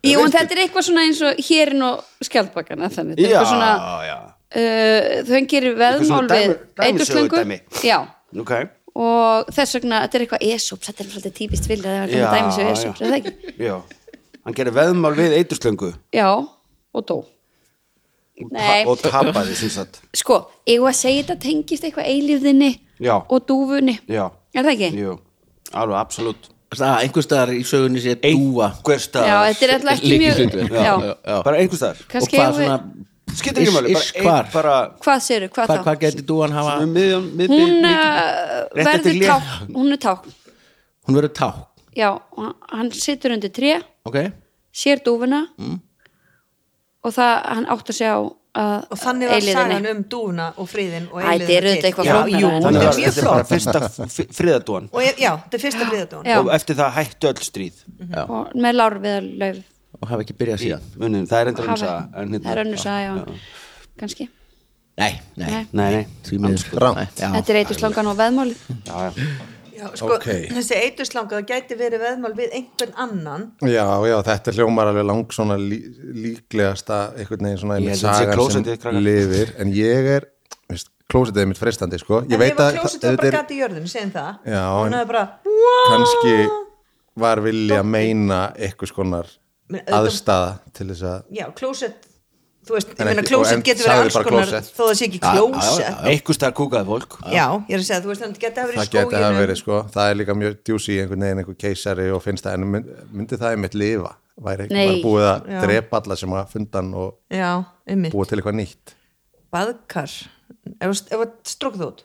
S6: Jú, en þetta er eitthvað svona eins og hérin og skjaldbakana, þannig, þetta er
S5: já,
S6: eitthvað svona
S5: já,
S6: uh, þau hann gerir
S5: svona
S6: veðmál við
S5: dæmi- dæmisögu
S6: eiturslöngu
S5: dæmi.
S6: já,
S5: ok
S6: og þess vegna, þetta er eitthvað esop, þetta er svolítið típist vilja það er
S5: Já,
S6: eitthvað dæmis og
S5: já.
S6: esop, er það ekki
S5: já, hann gerir veðmál við eiturslöngu
S6: já, og dó Nei.
S5: og tapaði sem sagt
S6: sko, eigum við að segja þetta tengist eitthvað eilífðinni
S5: Já.
S6: og dúfunni
S5: já,
S6: er það ekki?
S5: jú, alveg absolutt
S2: Það, einhver staðar í sögunni sé dúa
S5: hver staðar
S6: já, þetta er alltaf ekki
S2: Líkið
S6: mjög
S2: hlutverk.
S6: já,
S2: já.
S5: bara einhver staðar
S2: og
S6: kannski
S2: hvað
S6: eigum við
S2: svona
S5: skiptir ekki
S2: Iss-
S5: máli,
S2: iss,
S5: bara
S2: hvar?
S5: einn bara
S6: hvað segirðu, hvað
S2: hvað,
S6: þá?
S2: hvað geti dúan hafa
S5: um miðjum, miðbyrjum,
S6: hún
S5: miðbyrjum.
S6: uh,
S5: Rétt eftir
S6: verður
S5: lé-
S6: ták hún er ták,
S2: hún verður ták,
S6: já, og hann- hann situr undir tré
S2: ok
S6: sér dúfuna
S5: Mm.
S6: og það, hann áttar sig á uh,
S3: og þannig var sagan um dúna og friðin og
S6: Æ, þetta er auðvitað eitthvað
S3: já,
S6: flóknara
S3: jú,
S6: en-
S3: hún
S5: þannig
S3: er
S5: var
S3: mjög
S5: þetta er bara
S3: flott
S5: fyrsta f- friðardúan
S3: og ég- já, þetta er fyrsta friðadún
S6: Já.
S5: og eftir það hættu öll stríð
S6: og með lárviðar lauf
S2: og hafa ekki byrjað síðan
S5: Munum, það er endur hann saga en hérna-
S6: það er önnur saga, já, kannski
S2: nei, nei,
S6: Nei.
S5: nei, nei,
S2: því miður
S5: Andskot.
S2: sko.
S4: Rangt.
S2: Nei, já.
S6: þetta er eiturslangan og veðmálið
S5: já, já.
S3: Já, sko,
S4: Ok.
S3: þessi eituslanga það gæti verið veðmál við einhvern annan
S4: Já, já, þetta hljómar alveg lang svona lí, líklegasta einhvern veginn svona
S5: Ég held
S4: einmitt
S5: að þetta sé
S4: sagan sem
S5: klósettið, krakkar.
S4: lifir en ég er, veist, klósetið er mitt frestandi sko, ég
S3: en
S4: veit
S3: ef
S4: að
S3: að klósið var
S4: auðvitað
S3: bara
S4: er-
S3: gæti í jörðin, segjum það
S4: Já,
S3: og hann
S4: en-
S3: hefði bara, wow
S4: kannski
S3: Ah!
S4: var vilja að meina eitthvað skonar
S3: Men auðvitað-
S4: aðstæða til þess að
S3: já, klósið, þú veist,
S4: En
S3: ég meina
S4: ekki- og- en
S3: klósið getur
S4: sagði
S3: verið alls
S4: bara
S3: konar
S4: klósett.
S3: þó það sé ekki klósið já,
S5: einhver staðar kúkaði fólk
S3: ég er að segja, þú veist, hann geti að verið
S4: það
S3: í
S4: geti að
S3: skóginum
S4: verið sko, það er líka mjög djúsi í einhvern veginn einhver keisari og finnst það en mynd- myndi það einmitt lifa væri ekki
S6: Nei.
S4: bara búið að
S3: Já.
S4: drepa alla sem að fundan og
S3: já, einmitt,
S4: búa til eitthvað nýtt
S3: baðkar ef það strók þú út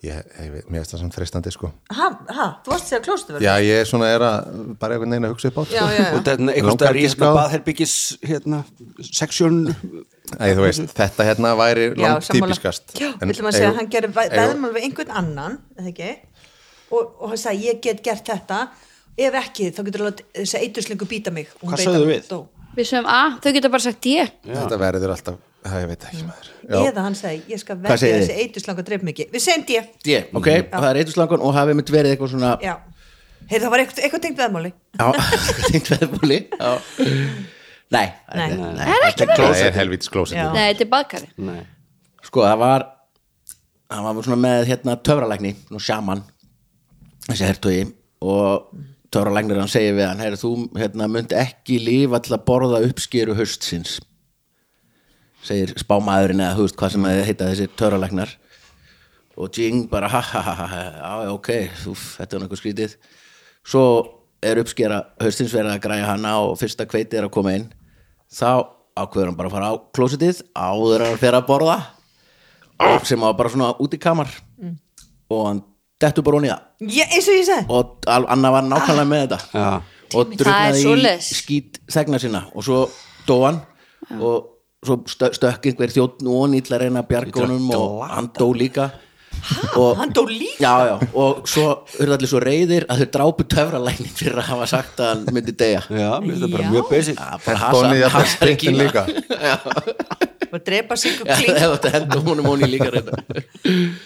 S4: ég, ég, veit- mér finnst það sem frestandi sko
S3: ha, ha, þú varst að segja klósið verið
S4: já ég svona er að bara einhvern veginn að hugsa upp á
S3: já,
S4: þetta sko.
S3: já,
S5: og
S3: já,
S4: (laughs)
S5: þetta er einhver
S4: Langar
S5: staðar í
S4: ekki
S5: hérna
S4: skráð.
S5: baðherbyggis hérna, seksjón
S4: Æ, þú veist, þetta hérna væri
S3: já,
S4: langt
S3: sammála.
S4: típiskast
S3: já,
S4: En
S3: villum að segja
S4: eigum-
S3: að hann gerir
S4: eigum-
S3: veðmál við einhvern annan eða ekki og, og hann sagði ég get gert þetta ef ekki þá getur alveg þessi eiturslingu býta mig
S5: Hvað sögðu við?
S6: við sögum að, þau geta bara sagt ég
S4: þetta verður alltaf, það ég veit ekki maður Já.
S3: eða hann sagði ég skal verði
S2: segið þið?
S3: þessi eiturslingu að dreif mig ekki við segjum ég
S2: Yeah, ok, og það er eiturslagun og hafi mitt verið eitthvað svona
S3: já heyrðu það var eitthvað, eitthvað tengt veðmáli
S2: Já, (laughs) tengt veðbúli Já. Nei,
S3: Nei.
S2: þetta- nei.
S5: þetta er
S4: það er
S5: klósett
S4: helvítis klósið
S3: Já.
S6: nei, þetta er baðkari
S5: Nei.
S2: Sko, það var hann var svona með hérna töfralækni nú sjaman þessi hertugi og töfralæknir hann segir við hann, heyrðu þú hérna munt ekki lifa til að borða uppskeru haustsins segir spámaðurinn eða þú veist hvað sem að heita þessir töfralæknar og Jing bara ha ha ha ha ha, já, já, ok, úf, þetta er nokkuð skrítið svo er uppskera haustins verið að græja hana og fyrsta kveiti er að koma inn þá ákveður hann bara að fara á klósitið áður en hann fer að borða Ah, sem var bara svona út í kamar og hann dettur bara hún í það
S3: já, eins og ég sagði
S2: og al- Anna var nákvæmlega með þetta
S5: Já.
S2: og
S6: Það er
S2: druknaði
S6: svoleiðis.
S2: í skýt þegna sína og svo dó hann og svo stö- stökk einhver þjótt og hann ítla að reyna að bjarga honum og hann dó líka og,
S3: hann dó líka?
S2: já, já, og svo urðu allir svo reyðir að þau drápu töfralækning fyrir að hafa sagt að hann myndi deyja
S5: já, mér finnst það bara mjög basic
S2: Það bara
S4: Hestóni
S2: hasa-
S4: jafnir
S2: hasar ekki
S4: strittin
S2: í
S4: líka
S2: það.
S3: og drepa sig og
S2: Já,
S3: klín
S2: ef þetta hendur honum honi líka reyna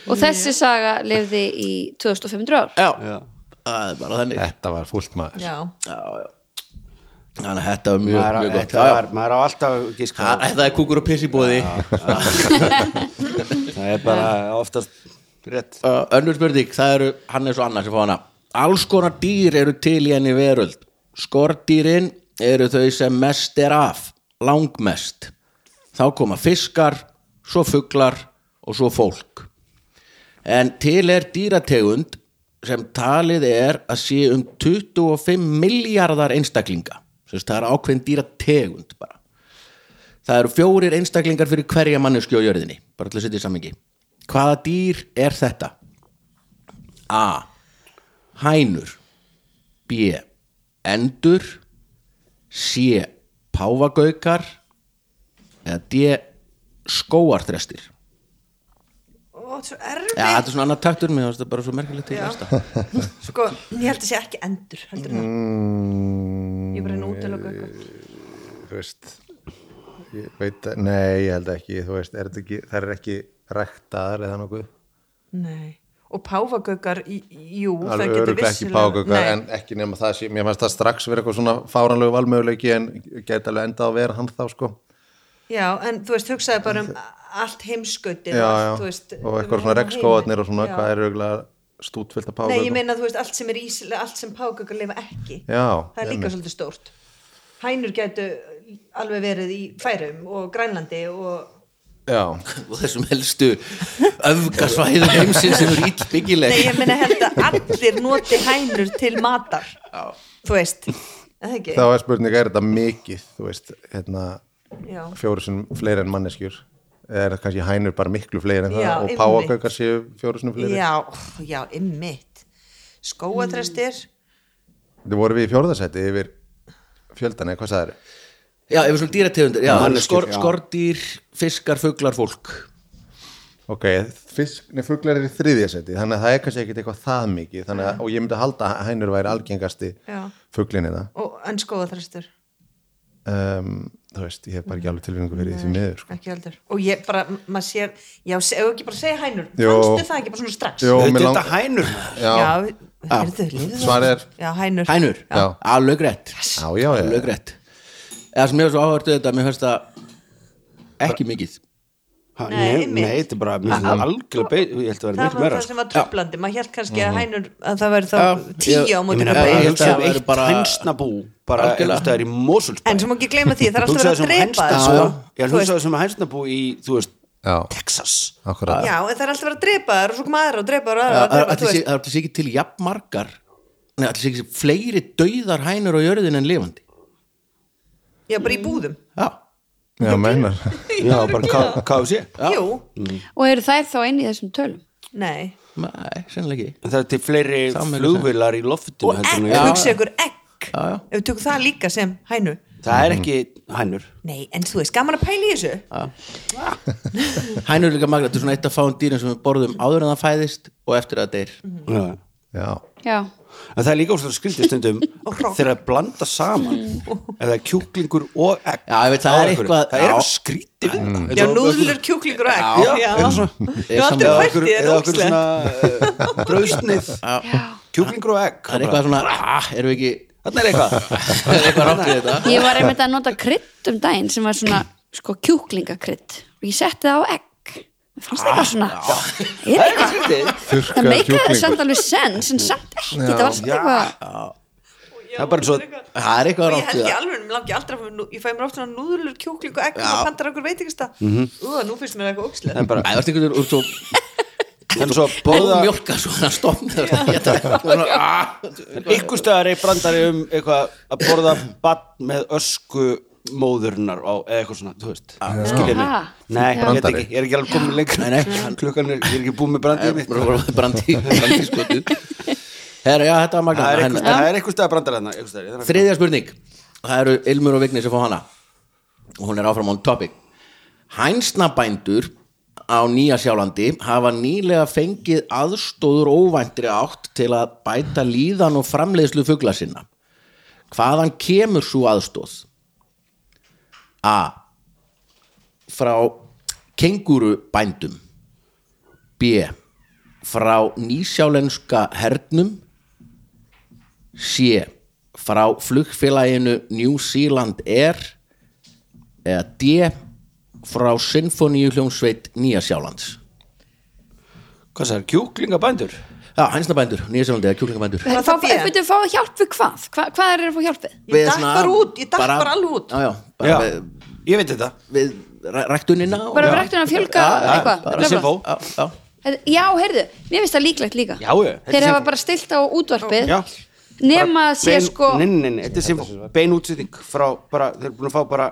S6: og þessi saga lifði í 2500 ár
S2: já, það er bara þannig
S4: þetta var fúlt maður
S3: já
S2: þannig að þetta var mjög,
S5: maður
S2: mjög
S5: á-
S2: gott
S5: þetta
S2: Já, já.
S5: var- maður á alltaf gíska
S2: Það það er kúkur og piss í bóði
S5: það er bara oftast rétt
S2: Önnur spurning, það eru Hannes og Anna sem fá hana Alls konar dýr eru til í henni veröld Skordýrin eru þau sem mest er af Langmest Þá koma fiskar, svo fuglar og svo fólk En til er dýrategund sem talið er að sé um 25 miljardar einstaklinga Sess, það er ákveðin dýrategund bara Það eru fjórir einstaklingar fyrir hverja manneskju á jörðinni bara til að setja í samhengi Hvaða dýr er þetta? A. Hænur B. Endur C. Páfagaukar eða D. Skóarþrestir
S3: Ó, þetta er svo
S2: Já,
S3: erfið
S2: þetta er svona annar taktur mér, finnst þetta er bara svo merkilegt til næsta
S3: Sko, ég held að sé ekki endur heldur það
S4: Mm.
S3: Ég er bara einu útlöku eitthvað
S4: þú veist ég veit að, nei, ég held ekki þú veist, er þetta ekki, það er ekki rektaðar eða nokkuð
S3: Nei Og páfagaukar, í- í- jú, það
S4: alveg
S3: getur
S4: öruglega ekki
S3: vissulega
S4: págökar
S3: Nei.
S4: en ekki nema það sé, mér fannst það strax vera eitthvað svona fáranlegu valmöguleiki en geta alveg endað að vera hann þá sko
S3: Já, en þú veist, hugsaði bara um allt heimskautin
S4: já,
S3: og
S4: já,
S3: allt, þú veist,
S4: og
S3: um
S4: eitthvað
S3: heim-
S4: svona rekskóðarnir og svona,
S3: Já.
S4: hvað er öruglega stútfyllt af
S3: Nei, ég
S4: págökum
S3: meina, þú veist, allt sem er ísilega, allt sem págökar lifa ekki
S4: já,
S3: Það er líka
S4: einmitt.
S3: svolítið stórt Hænur getu alveg verið í Færum og Grænlandi og
S4: já,
S2: og þessum helstu öfgasvæðum heimsins sem eru illbyggileg
S3: Nei, ég meina held að allir noti hænur til matar Þú veist, er það ekki
S4: þá er spurning er þetta mikið, þú veist hérna,
S3: Já,
S4: fjóru sem fleiri en manneskjur er það kannski hænur bara miklu fleiri en
S3: Já,
S4: það og
S3: einmitt.
S4: págökar séu fjóru sem fleiri
S3: já, ó, já, ymmit Skóatrestir
S4: Mm. Þetta voru við í fjórðasæti yfir fjöldan eða hvað það er
S2: Já, ef við svona dýrategundir, já,
S5: Manneskjur,
S2: skor,
S5: já.
S2: skordýr, fiskar, fuglar, fólk
S4: Ok, fisk, nei, fuglar er í þriðjasæti þannig að það er kannski ekkit eitthvað það mikið þannig að, og ég myndi að halda að hænur væri algengasti
S3: Já.
S4: fuglinni það
S3: og, En skóatrestir,
S4: um, þú veist, ég hef bara ekki alveg tilfinningu fyrir því því miður sko.
S3: ekki heldur Og ég bara, m- maður sér Já, se- ef ekki bara segja hænur,
S4: Jó.
S3: fannstu það ekki bara svona strax
S4: Jó,
S5: Þetta
S4: mig
S5: er
S4: lang-
S5: þetta hænur maður.
S4: já, já,
S3: Já, heyrðu, lifðu það
S4: svarið er
S3: Já, hænur
S2: Hænur,
S4: Já.
S2: alögrætt
S4: já, já, já,
S2: alögrætt Eða sem ég var svo áhvertu þetta, mér finnst það ekki mikið
S5: Ha,
S3: Nei,
S5: Nei,
S3: einmitt.
S5: nei, þetta er bara mér finnst þetta algjörlega beig Ég held að vera
S3: Það
S5: miklu
S3: var
S5: meira
S3: það
S5: sko.
S3: sem var tröflandi, maður held kannski að hænur að það væri þá
S2: Já,
S3: tíu á
S5: Ég
S3: móti
S5: meina
S2: Já,
S5: bara,
S2: ég
S5: ég
S2: held
S5: held að
S2: að það væri
S5: eitt
S2: bara-
S5: hænsnabú bara
S2: Algjörlega.
S5: einhvers staðar í Mosulsbæ
S3: En svo má ekki gleyma því, það er alltaf verið að
S2: um
S3: drepa
S5: hænsnabú
S3: þær,
S5: sko.
S3: sko.
S5: Ég
S3: Þú veist.
S5: hugsaði sem hænsnabú í, þú veist,
S4: já,
S5: Texas
S4: akkurat
S3: Já, en það er alltaf verið að drepa þær og svo koma aðra og drepa þær og aðra og
S2: Það
S3: drepa, þú
S2: ætli sé-
S3: veist.
S2: það ætli sé ekki til jafnmargar Nei, ætli sé ekki fleiri dauðar hænur á jörðin en lifandi
S3: Já, bara í búðum.
S2: Já,
S4: já, meinar
S5: Já, bara KFC
S3: Jú,
S6: og eru þær þá inn í þessum tölum
S3: nei.
S2: nei, sennilega ekki
S5: En Það er til fleiri
S2: Sameinuð
S5: flugvilar í loftinu
S3: Og
S5: heldur en
S3: egg,
S5: ég-
S3: hugsa ykkur egg.
S2: Já, já.
S3: Ef við tökum það líka sem hænu.
S5: Það er ekki hænur
S3: Nei, en þú veist, gaman að pæla í þessu.
S2: Hænur er líka magna, þetta er svona eitt af fáum dýrin sem við borðum áður en það fæðist og eftir að það deyr
S3: Mhm.
S5: Já.
S4: (laughs) já,
S6: já,
S5: En það er líka úrslega skrítið
S3: (laughs)
S5: stundum þegar það blanda saman
S3: Mhm.
S5: eða kjúklingur og egg
S2: Já, ég veit, það
S5: á
S2: er
S5: einhverju.
S2: eitthvað-
S5: Það er
S2: já. Mm.
S5: eitthvað skrítið við þetta.
S3: Já,
S5: Eins og-
S3: núðlur, kjúklingur og egg.
S5: Já, eða svona-
S3: Ég var aldrei
S5: eða
S3: fært
S5: okkur-
S3: í þér
S5: eða okkur
S3: ógslegt.
S5: svona eh,
S2: (laughs)
S5: brauðsnið kjúklingur og egg
S2: Það er eitthvað svona, ah, erum við ekki
S5: Þarna er eitthvað
S2: Það er eitthvað rátt við
S3: (laughs)
S2: þetta
S6: ég var einmitt að nota krydd um daginn sem var svona sko kjúklingakrydd og ég setti það á egg Mér fannst það eitthvað svona
S5: (laughs)
S6: er eitthvað
S5: skrítið
S6: það
S4: þurrkaður
S6: meikaði
S4: kjúklingur
S6: samt alveg sens en samt ekki, það var samt
S5: Já.
S6: eitthvað
S5: Það er bara eins og
S2: Það er eitthvað
S3: Og ég
S2: rátt
S3: held
S2: við
S3: ég
S2: það
S3: alveg, mér langi aldrei að fá, nú- ég fæ mér ofta núðlur, kjúklingur og egg og maður pandar okkur veit ekki stað. Ú, nú finnst mér eitthvað ógslegt.
S5: Það er bara
S2: Það er eitthvað einhvern veginn úr svo
S5: En svo
S2: Bóða
S5: bóða
S2: mjölka svo hann stofn
S3: (laughs)
S2: Þetta
S5: Ykkur stöðar er brandari um eitthvað að borða bann með ösku móðurinnar á, eða eitthvað svona, þú veist skilja mig,
S6: Ha?
S5: nei, ég veit
S4: Brandari.
S5: ekki ég er ekki alveg komin lengra
S2: Nei, nei.
S5: klukkan er, ég er ekki búin með brandið mitt
S2: brandi brandískotið Herra, já, þetta
S5: það er
S2: var magna
S5: eitthvað-
S2: Herra,
S5: það er eitthvað stað brandari þarna einhvers staðar, ég þarf að-
S2: Þriðja spurning Það eru Ilmur og Vigni sem fá hana og hún er áfram on topic Hænsnabændur á Nýja Sjálandi hafa nýlega fengið aðstóður óvæntri átt til að bæta líðan og framleiðslu fugla sinna Hvaðan kemur svo aðstóð? A frá kengurubændum B frá nýsjálenska hernum C frá flugfélaginu New Zealand Air eða D frá Sinfoníu hljómsveit Nýjasjálands
S5: hvað það er, kjúklingabændur
S2: Já, hænsnabændur, Nýjasjálandi eða kjúklingabændur
S3: Var
S6: En
S3: það
S6: þá
S3: fé?
S6: fyrir að fá hjálp við hvað? Hva, hvað er að fá hjálp við?
S3: Ég datt bara út, ég datt bara alveg út.
S2: Já, já, bara
S5: já,
S2: við,
S5: ég veit þetta
S2: við ræ- ræktunina og-
S6: Bara
S2: Já.
S6: ræktun að fjölga
S2: Já, já,
S6: eitthvað,
S2: bara-
S6: bla, bla,
S5: bla.
S2: Já, já.
S6: Þetta- Já, heyrðu, mér finnst það líklegt líka
S5: Já, já, þetta er
S6: Þeir hafa
S5: sem-
S6: bara stilt á útvarpið
S5: Já.
S6: nema að sé
S5: Bein-
S6: sko
S5: nei, nei, nei, nei, þetta er sem bein útsetting frá bara, þeir eru búin að fá bara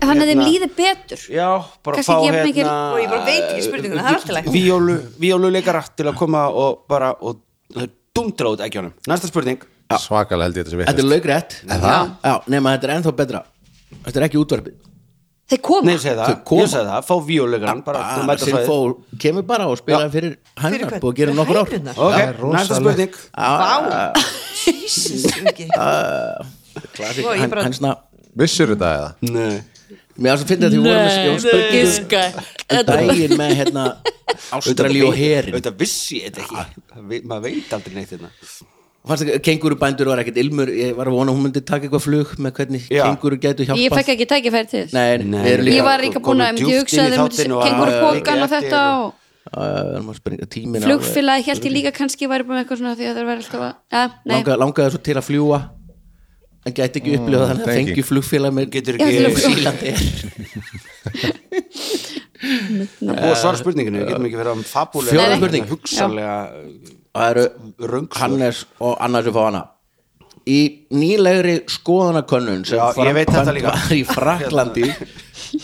S6: hann að þeim
S5: hérna-
S6: líði betur
S5: já, bara
S6: Kannski
S5: fá
S6: ekki jafn mikil-
S5: hérna
S3: Og ég bara veit ekki spurninguna, það er allt í lagi.
S5: víólu, víólu leikara til að koma og bara og það er dumdra út ekki honum næsta spurning
S4: svakalega held ég þetta sem
S2: Þetta er
S4: við
S2: laugrætt Já, nema þetta er ennþá betra Þetta er ekki útvarpið
S6: þeir koma
S5: Nei, ég segi
S2: Þau
S5: það,
S2: koma.
S5: ég segi það, fá víulegan bara, þú
S2: Bara
S5: mæta svo
S2: Sinfó kemur bara og spila
S5: Já.
S2: fyrir hænar Búið að gera nokkur ár
S3: Hænurnar?
S5: Ok,
S4: Það er
S5: næsta
S4: rosalegt.
S5: spurning Ah.
S3: Jesus, Ingi.
S2: Klassik,
S3: Ó, ég bara-
S2: hænsna
S4: vissur þetta eða
S5: Nei,
S2: Mér ástu að finna því við vorum með spurningu
S6: giska
S2: um daginn með hérna Ástralíu og herin
S5: Þetta vissi ég þetta ekki, Það veit- maður veit aldrei neitt hérna
S2: Fannst ekki, kengurubændur var ekkert ilmur Ég var að vona að hún myndi taka eitthvað flug með hvernig
S5: Já.
S2: kenguru getur hjálpað
S6: ég fekk ekki tækifæri til þess
S2: Nei, nei, við erum
S6: ég
S2: líka
S6: var líka búin
S5: Komum
S6: að, ég
S5: djúpt inn í
S6: hugsaði um
S5: þáttinn og-
S6: kengur
S5: Já,
S6: pókan og
S5: já.
S6: þetta og
S2: uh,
S6: flugfélagi held ég líka kannski væri bara með eitthvað svona því að það var alltaf að ja, nei,
S2: Langa, langaði svo til að fljúa en gæti ekki upplifað þannig að
S4: thank
S2: fengi flugfélag með
S5: Mm, Getur
S6: Ég ætla að
S5: ekki,
S6: fljúga.
S2: Sýlandi
S5: það er búið svara spurninginu, við getum ekki verið um að fabulega
S2: Fjórða spurning.
S5: Hugsalega
S2: það eru
S5: röngsvör.
S2: Hannes og Anna sem fá hana í nýlegri skoðanakönnun sem
S5: Já, ég veit þetta
S2: framkvæmd
S5: líka.
S2: var í Fraklandi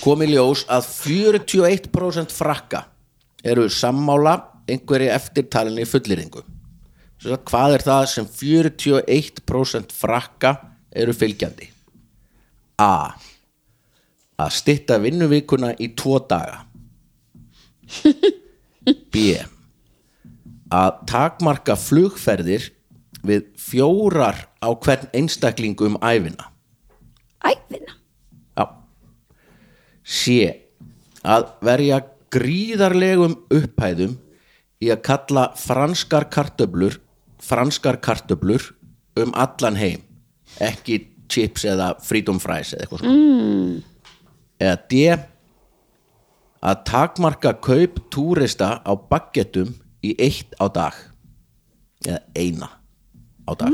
S2: kom í ljós að 41% frakka eru sammála einhverju eftirtalinni fullýringu hvað er það sem 41% frakka eru fylgjandi A að stytta vinnuvikuna í tvo daga B að takmarka flugferðir við fjórar á hvern einstaklingu um æfina
S6: æfina
S2: Já. C að verja gríðarlegum upphæðum í að kalla franskar kartöblur franskar kartöblur um allan heim ekki chips eða freedom fries eða eitthvað svona mm. eða D að takmarka kaup túrista á baggetum í eitt á dag eða eina á dag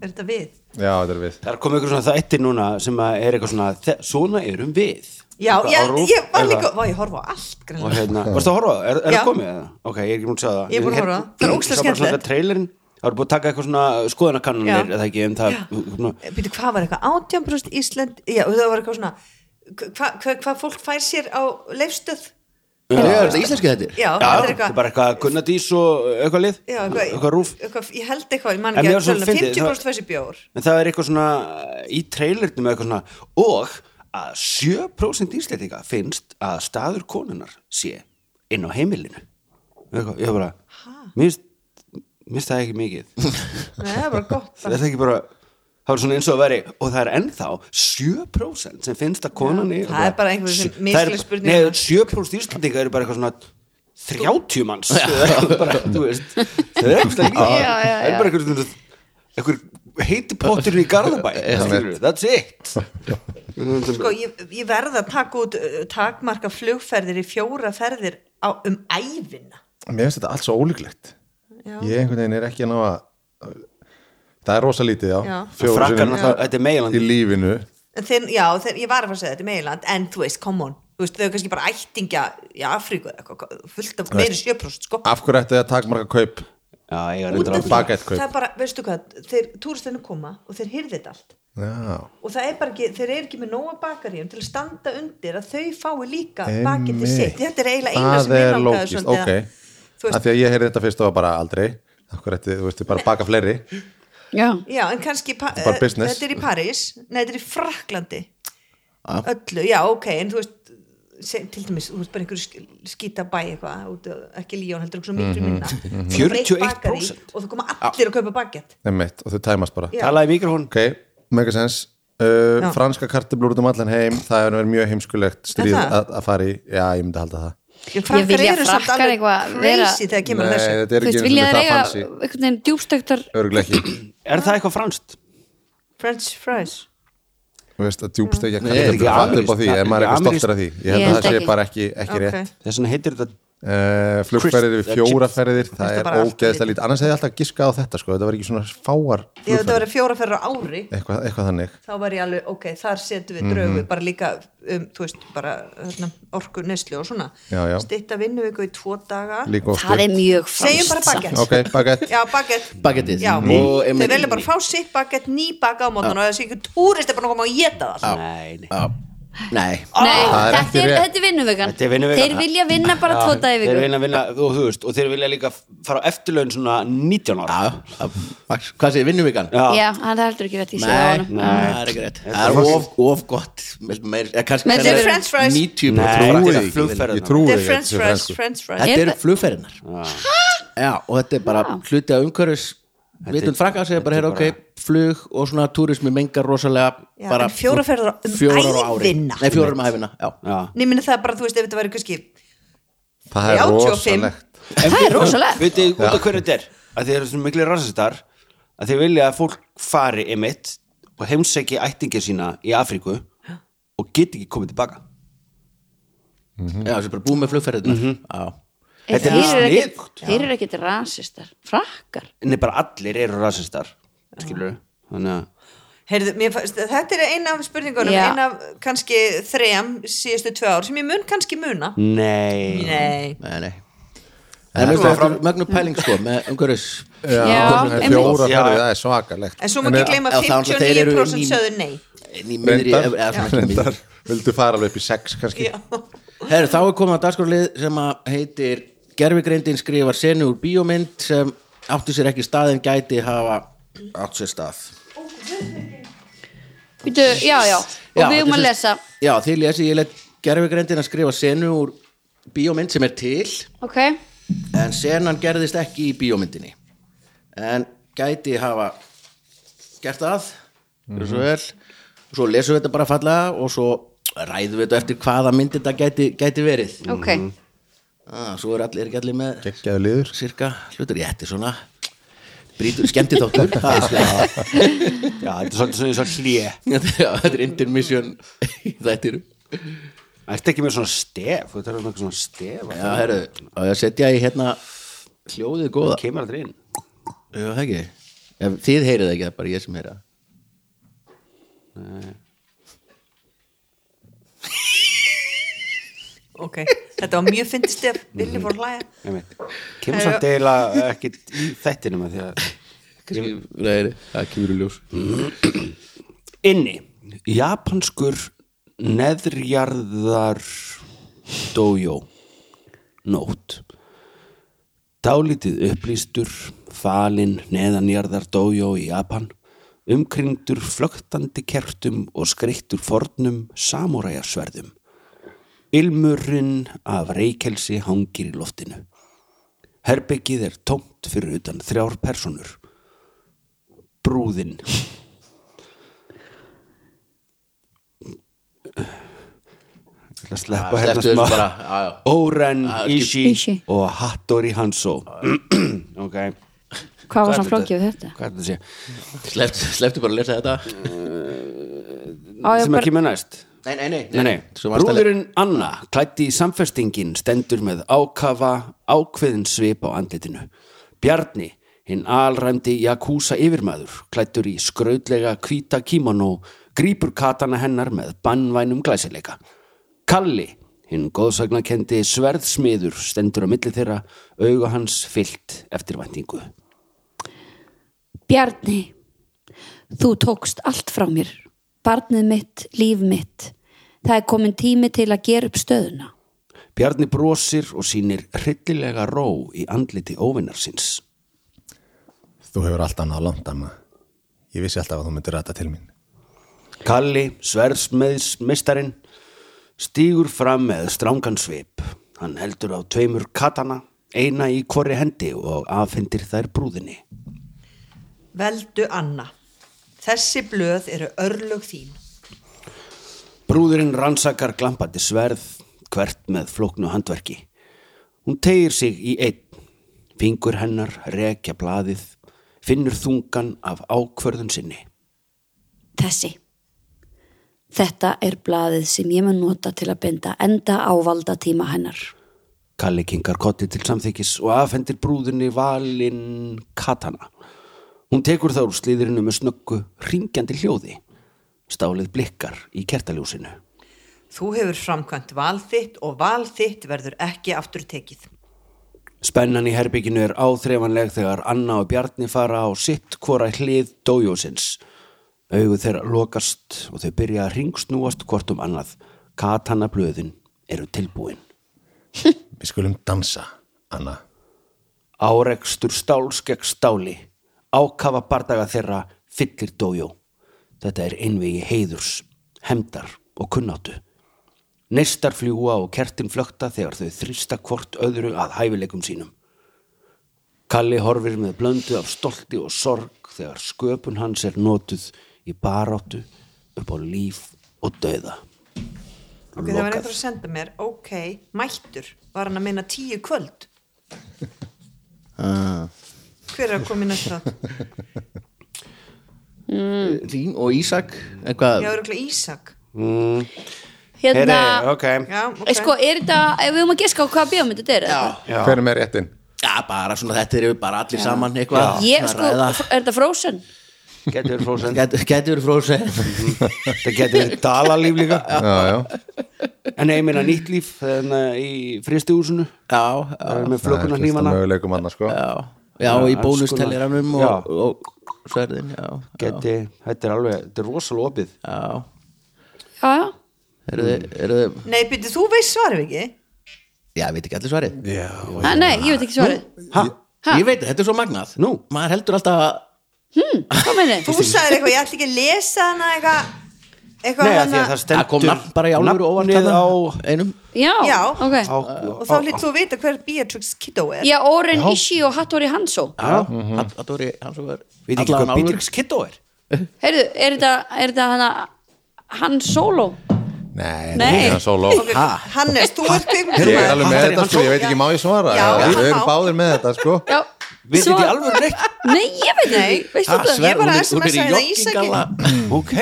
S3: Er þetta við?
S4: já þetta er við
S5: Það er komið ykkur svona þættir núna sem að er eitthvað svona, þe- svona erum við
S3: Já,
S5: Eitthvað á
S3: ég,
S5: rúf-
S3: ég var
S5: eitthvað.
S3: líka, vá, ég horfa á allt
S5: og
S3: greinlega.
S5: hérna, varstu að horfa, á það? er, er
S3: Já.
S5: það komið eða? ok, ég er ekki múin að segja það
S3: Ég er búin að horfa á það. Það er ógeðslega skemmtilegt.
S5: trailerin, það er búin að taka eitthvað svona skoðanakannanir
S3: Já.
S5: eða ekki, en það
S3: Já.
S5: hérna, svona,
S3: Býtu, hvað var eitthvað? 18% Ísland, já, það var eitthvað svona, hvað hva, hva fólk fær sér á leifstöð?
S2: Já, er þetta íslenski þetta?
S3: Já, þetta
S5: það
S3: er
S5: er
S3: eitthvað,
S5: bara eitthvað Gunnadís og eitthvað lið
S3: já,
S5: eitthvað rúf,
S3: eitthvað, ég held eitthvað, ég man
S5: En
S3: ekki
S5: mér
S3: að
S5: var svo
S3: tölna,
S5: fyndið,
S3: 50%
S5: það-
S3: fær sér bjór.
S5: en það er eitthvað svona í trailernum eitthvað svona, og að 7% íslendinga finnst að staður konunar sé inn á heimilinu eitthvað, ég bara, mér finnst það ekki mikið
S3: Nei, það er bara gott.
S5: (laughs) er það ekki bara það var svona eins og að veri og það er ennþá 7% sem finnst að konan í
S3: það er bara einhver
S5: Sjö-
S3: sem
S5: það er-
S3: misskilur spurninguna.
S5: nei, 7% íslendinga eru bara eitthvað svona 30 manns bara, þú veist það er ekki það
S6: Já, já,
S5: er
S6: já.
S5: bara eitthvað svona einhver heiti potturinn í Garðabæ skilurðu, that's it
S3: Sko, ég, ég verða að taka út uh, takmarka flugferðir í fjóra ferðir á, um æfina.
S4: mér finnst þetta allt svo ólíklegt
S3: Já.
S4: ég einhvern veginn er ekki að ná að það er rosa lítið já,
S3: Já.
S4: Fjórum
S5: Frakkar
S4: sinnum
S5: náttúrulega, þetta er meginland.
S4: í lífinu
S3: En þeir, já, þeir, ég var að fara að segja þetta í meiland, en þú veist, come on, þú veist, þau eru kannski bara ættingja í Afríku eða eitthvað, fullt af meiri sjöprost, sko.
S4: af hverju ætti það að taka marga kaup
S5: já, ég er
S3: Út
S5: reyndar
S3: af
S5: ábyggilega.
S3: því,
S4: Baguettkaup.
S3: það er bara, veistu hvað, þeir túristinu koma og þeir hyrði þetta allt.
S4: já,
S3: Og það er bara ekki, þeir eru ekki með nóga bakaríum til að standa undir að þau fái líka
S4: Einmitt.
S3: bakindi sitt. Þetta er eiginlega eina sem
S4: það
S3: ég
S4: er
S3: langaði
S4: lókist,
S3: svolítið
S4: ok
S3: að- þú veist-
S4: af því að ég heyrði þetta fyrst og var bara aldrei af hverju ætti, þú veist, þið bara baka fleiri
S6: já,
S3: Já, en kannski pa-
S4: er bara
S3: eh,
S4: business.
S3: Þetta er í París, nei þetta er í Fraklandi Öllu, já ok En þú veist, se, til dæmis Þú veist bara einhverju skýta bæ eitthvað út á- Ekki Líón, heldur einhverju miklu minna mm
S5: 41%.
S3: Og þú koma allir að kaupa baguett
S4: Einmitt, og þau tæmast bara
S3: Já.
S5: talaði mikil hún
S4: ok, mega sens uh, franska kartablur út um allan heim það er verið mjög heimskulegt stríð
S3: það?
S4: að, að fara í já, ég myndi halda það
S6: Ég vilja frakkar eitthvað vera-
S3: crazy þegar kemur að
S4: Nei,
S3: þessu
S4: þetta er ekki
S6: þú veist,
S4: einu sinni
S6: vilja þeir
S4: það
S6: eiga
S4: fancy
S6: einhvern veginn djúbstöktar
S4: örguleg ekki,
S5: er það eitthvað franskt?
S3: French fries
S4: þú veist að djúbst ekki að
S2: Nei,
S4: kartablur
S5: ekki
S4: falla upp á því,
S5: amerískt.
S4: ef maður er
S5: Ekki
S4: eitthvað stoltur af því ég held
S6: Ég
S4: að
S6: held
S4: það sé
S6: ekki.
S4: bara ekki, ekki
S3: Ok.
S4: rétt
S5: þess vegna heitir þetta
S4: uh, flugferðir við
S5: Crisp-
S4: fjóra ferðir það
S3: Þetta
S4: er
S3: bara allt
S4: ógeðslega
S3: lítið.
S4: lítið, annars hefði ég alltaf giskað á þetta sko, þetta var ekki svona fáar
S3: Ég þetta
S4: flugferðir,
S3: verið fjóra ferra ári
S4: eitthvað, eitthvað þannig
S3: þá var ég alveg, ok, þar setjum við draugu bara líka, um, þú veist, bara hérna, orku neslu og svona
S4: Já, já.
S3: stytta vinnuviku í tvo daga
S4: líka
S6: það er
S4: óskur,
S6: mjög
S3: segjum bara
S6: franskt samt.
S3: baguett
S4: ok, bagett
S3: Já, baguett
S2: Baguettið.
S3: Já,
S2: Mm. Og einmitt-
S3: þeir velja bara að fá sitt baguett nýbaka á mótan og þessi ykkur túrist er bara að koma og geta það
S5: nei, nei.
S2: Já. Nei,
S6: Nei,
S4: Það er
S6: þetta
S4: ekki
S6: er,
S4: rétt.
S6: þetta er vinnuvegan
S5: Þetta er vinnuvikan.
S6: Þeir vilja vinna bara tvo daga í
S5: Þeir
S6: viku
S5: vilja vinna, og þú veist, og þeir vilja líka fara á eftirlaun svona 19 ára
S2: já, já, Max, hvað segir vinnuvíkan?
S6: Já, hann er heldur ekki verið í sig á
S2: Nei,
S6: honum
S2: það er ekki rétt Það er of, of gott Mér- meir- eða kannski-
S6: Með
S2: það er
S3: french fries.
S2: 90%
S5: Nei, þetta
S2: fræktir af
S5: er
S2: því.
S5: flugferðina.
S4: ég trúi
S3: Þetta er
S4: því að
S3: french
S4: sé
S3: fries,
S4: franskur.
S3: french fries
S2: Þetta eru flugferðinar Já, og þetta er bara hluti af umhverfis vitund frakka sem er bara, heyr, ok, flug og svona túrismi mengar rosalega
S3: Já,
S2: bara
S3: en fjórar ferðir um
S2: fjórar á ári.
S3: ævina.
S2: Nei, fjórar um æfina, já
S5: Já.
S3: Nei, minna það er bara, þú veist, ef þetta væri kannski
S4: það er
S3: 85.
S4: rosalegt
S6: Það er rosalegt
S5: Vitið út af hverju þetta er? Að þeir eru svona miklu rassistar að þeir vilja að fólk fari emitt og heimsæki ættingir sína í Afríku og get ekki komið tilbaka
S2: Já, sem bara búið með flugferðina Já,
S6: En
S5: Þetta er
S6: Þeir eru
S5: sniðugt.
S6: ekkit- þeir eru ekkit rasistar Frakkar
S5: en bara allir eru rassistar skilur þannig að
S3: heyrðu, mér fannst, þetta er eina af spurningunum
S6: Já.
S3: eina af kannski þrejam síðustu tvö ár sem ég mun kannski muna
S2: Mm.
S5: Nei,
S3: Nei,
S2: nei, nei Það er Eh. mögnu, mögnu pæling sko með umhverfis
S6: Já,
S4: það er
S6: einmitt.
S4: fjóra
S5: Já.
S4: ferði, það er svakalegt
S3: en svo má ekki gleyma
S2: Já, þá náttúrulega þeir eru
S3: 59%
S2: í-
S3: sögðu nei
S2: En í miðri,
S4: Reyndar.
S2: eða svona ekki miðri
S4: Reyndar, vildu fara alveg upp í sex kannski
S3: Já.
S2: Herru, þá er komið að dagskorlið sem að heitir Gervigreindin skrifar senu úr bíómynd sem átti sér ekki stað en gæti hafa átt sér stað
S6: Býtu, já, já, og við um
S2: þetta
S6: að
S2: er
S6: lesa
S2: sem- Já, því lesi ég let Gervigreindin að skrifa senu úr bíómynd sem er til
S6: Ok,
S2: en senan gerðist ekki í bíómyndinni en gæti hafa gert það mm svo vel svo lesum við þetta bara fallega og svo ræðum við þetta eftir hvaða mynd þetta gæti, gæti verið
S6: ok
S2: ah, svo er allir, er ekki allir með
S4: geggjaðu liður
S2: cirka hlutur, ég ætti svona brítur, skemmti (laughs) þáttur það er svona-
S5: já, þetta er svolítið svona, svona hlje
S2: Já, þetta er intermission þetta er
S5: Ertu ekki með svona stef, þú þarf um eitthvað svona stef
S2: já, herru, á ég að setja í hérna hljóðið góða
S5: það kemur aldrei inn
S2: já, það ekki, Ef, þið heyrið það ekki, það er bara ég sem heyra
S3: Ok, þetta var mjög fyndist ef Villi fór að hlæja
S5: Einmitt. kemur samt eiginlega ekkit í þættinum að því að
S2: það það kemur í ljós
S5: inni japanskur neðrjarðar dojo nót dálítið upplýstur falinn neðanjarðar dojo í Japan umkringdur flögtandi kertum og skreittur fornum samúræjarsverðum ilmurinn af reykelsi hangir í loftinu herbyggið er tómt fyrir utan þrjár personur brúðinn Ég ætla að sleppa
S2: Já,
S5: hérna
S2: slepptu þessu
S5: smá.
S2: bara, já, já.
S5: Oren
S2: Ah,
S5: Ishii
S6: Ishii.
S5: og Hattori Hanzo (clears throat) ok
S6: Hvað var svona flókið við þetta?
S5: hvað er þetta sé
S2: Slepp, slepptu bara að lesa þetta
S6: Á, ég
S5: sem
S6: bara,
S5: ekki með næst
S2: nei, nei, nei,
S5: Nei, nei.
S2: Svo varstu að le-
S5: Brúðurinn Anna klætti í samfestingin stendur með ákafa ákveðin svip á andlitinu. Bjarni, hinn alræmdi jakúsa yfirmaður, klættur í skrautlega hvíta kimono, grípur katana hennar með bannvænum glæsileika. Kalli, hinn góðsagnakendi sverðsmiður stendur á milli þeirra, auga hans fyllt eftir væntingu.
S6: Bjarni Þú tókst allt frá mér Barnið mitt, líf mitt Það er komin tími til að gera upp stöðuna
S5: Bjarni brosir og sýnir hryllilega ró í andliti óvinnarsins.
S4: þú hefur alltaf náð langt amma ég vissi alltaf að þú myndir ræta til mín
S5: Kalli, sverðsmeðsmeistarin, stígur fram með strangan svip. Hann heldur á tveimur katana, eina í hvori hendi og afhendir þær brúðinni.
S3: Veldu Anna Þessi blöð eru örlög þín
S5: Brúðurinn rannsakar glampandi sverð, hvert með flóknu handverki. Hún tegir sig í einn, fingur hennar rekja blaðið, finnur þungan af ákvörðun sinni.
S6: Þessi Þetta er blaðið sem ég mun nota til að binda enda ávalda tíma hennar
S5: Kalli kingar kotti til samþykis og afhendir brúðinni valinn katana. Hún tekur þá úr slíðrinu með snöggu, ringjandi hljóði. Stálið blikkar í kertaljósinu.
S3: Þú hefur framkvæmt val þitt og val þitt verður ekki aftur tekið
S5: Spennan í herbygginu er áþreifanleg þegar Anna og Bjarni fara á sitt hvora hlið dójósins. Augu þeirra lokast og þau byrja að ringsnúast hvort um annað. Katana blöðin eru tilbúin.
S4: Við skulum dansa, Anna
S5: Árekstur stáls gegn stáli. Ákafa bardaga þeirra fyllir dójó. Þetta er einvegi heiðurs, hemdar og kunnáttu. Neistar fljúa og kertin flökta þegar þau þrýsta hvort öðru að hæfileikum sínum. Kalli horfir með blöndu af stolti og sorg þegar sköpun hans er notuð í baráttu upp á líf og dauða.
S3: ok, það var einhver að senda mér ok, mættur, var hann að minna tíu kvöld
S2: Ah.
S3: hver er að koma í næsta
S4: (laughs)
S3: þátt?
S2: Þín og Ísak eitthvað,
S3: ég var eitthvað Ísak
S6: Hérna,
S5: ok.
S3: já, ok,
S6: okay. sko, er þetta, ef við höfum að giska á hvaða bíómynd þetta er? Já.
S4: Hvernig með réttin?
S2: já, bara svona þetta eru bara allir saman eitthvað
S6: Ég,
S2: að
S6: sko,
S2: ræða.
S6: (laughs) er þetta Frozen?
S5: Getur verið frósen.
S2: Gæti- gæti verið fróðseg (laughs)
S5: Það getur verið dalalíf líka.
S4: Já, já,
S5: En nei, ég meina nýtt líf þannig að í fristihúsinu
S2: já,
S5: það er með
S4: það er
S5: flökunar
S4: fyrsta
S5: nýmana
S4: möguleikum annars sko
S2: já, já, og í
S5: alls
S2: bónustelliranum
S5: konar.
S2: og, og sverðin já, já,
S5: Geti, þetta er alveg, þetta er rosalega opið
S2: já.
S6: Já, já.
S2: Eru þið, eru þið,
S3: nei, byrju, þú veist svarið ekki
S2: já, ég veit ekki allir svarið
S6: Ha, Ah, nei, ég veit ekki svarið.
S5: Hæ?
S2: ég veit, þetta er svo magnað
S5: Nú?
S2: maður heldur alltaf að
S6: Hvað meinið?
S3: þú sagðir eitthvað, ég ætla ekki að lesa hana eitthvað
S5: Nei,
S3: eitthvað
S5: að því
S3: hana
S5: að það
S2: það kom
S5: stendur
S2: nafn bara í álfur og óvart
S5: nafnið
S2: þarna,
S5: á
S2: einum
S6: Já,
S3: Já.
S6: ok.
S5: á,
S3: og þá hlýtt þú að vita hver Beatrix Kiddo er
S6: Já, Oren Ishii og Hattori Hanzo.
S2: já, það voru hans og var
S5: Við ekki hvað Beatrix Kiddo er
S6: Heyrðu, er þetta, er þetta hana, hann solo?
S4: Nei,
S6: Nei.
S4: það er solo
S3: okay, Hannes, þú ert
S4: Ég
S3: kvikmyndarmaður.
S4: er alveg með
S5: Hattarinn,
S4: þetta
S5: hann
S4: sko,
S5: solo.
S4: ég veit ekki má ég svara
S3: Já,
S4: Við
S3: hann
S4: erum
S3: má.
S4: báðir með þetta sko
S6: Já.
S5: Við
S6: Svo-
S5: ekki alveg neitt
S6: Nei, ég veit
S3: Nei.
S6: ekki. Veistu
S3: Ha,
S6: þetta?
S3: Sverrir. bara SMS-aði það í Ísaki.
S5: (laughs) Ok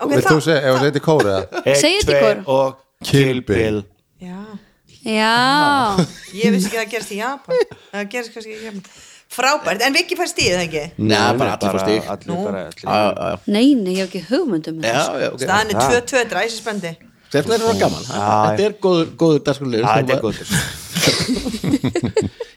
S3: Ok,
S4: Vilt
S3: þá-
S4: þú segja, ef þú segir þetta í kóru eða?
S6: Segðu þetta í kór.
S5: og Kill Bill
S3: Já,
S6: Já.
S3: ég vissi ekki að það gerst í Japan það gerst kannski í Japan frábært, en Viki fær stíð, ekki?
S2: Nei, bara allir fór stík
S5: Allir bara allir
S2: Já,
S6: Nei, nei, ég hef ekki um hugmyndum.
S2: já, já, ok
S3: staðan er 2-2, dræsisbandi
S2: Þetta er svo gaman Þetta er góður, góður dagskulegur
S5: Já, þetta er góður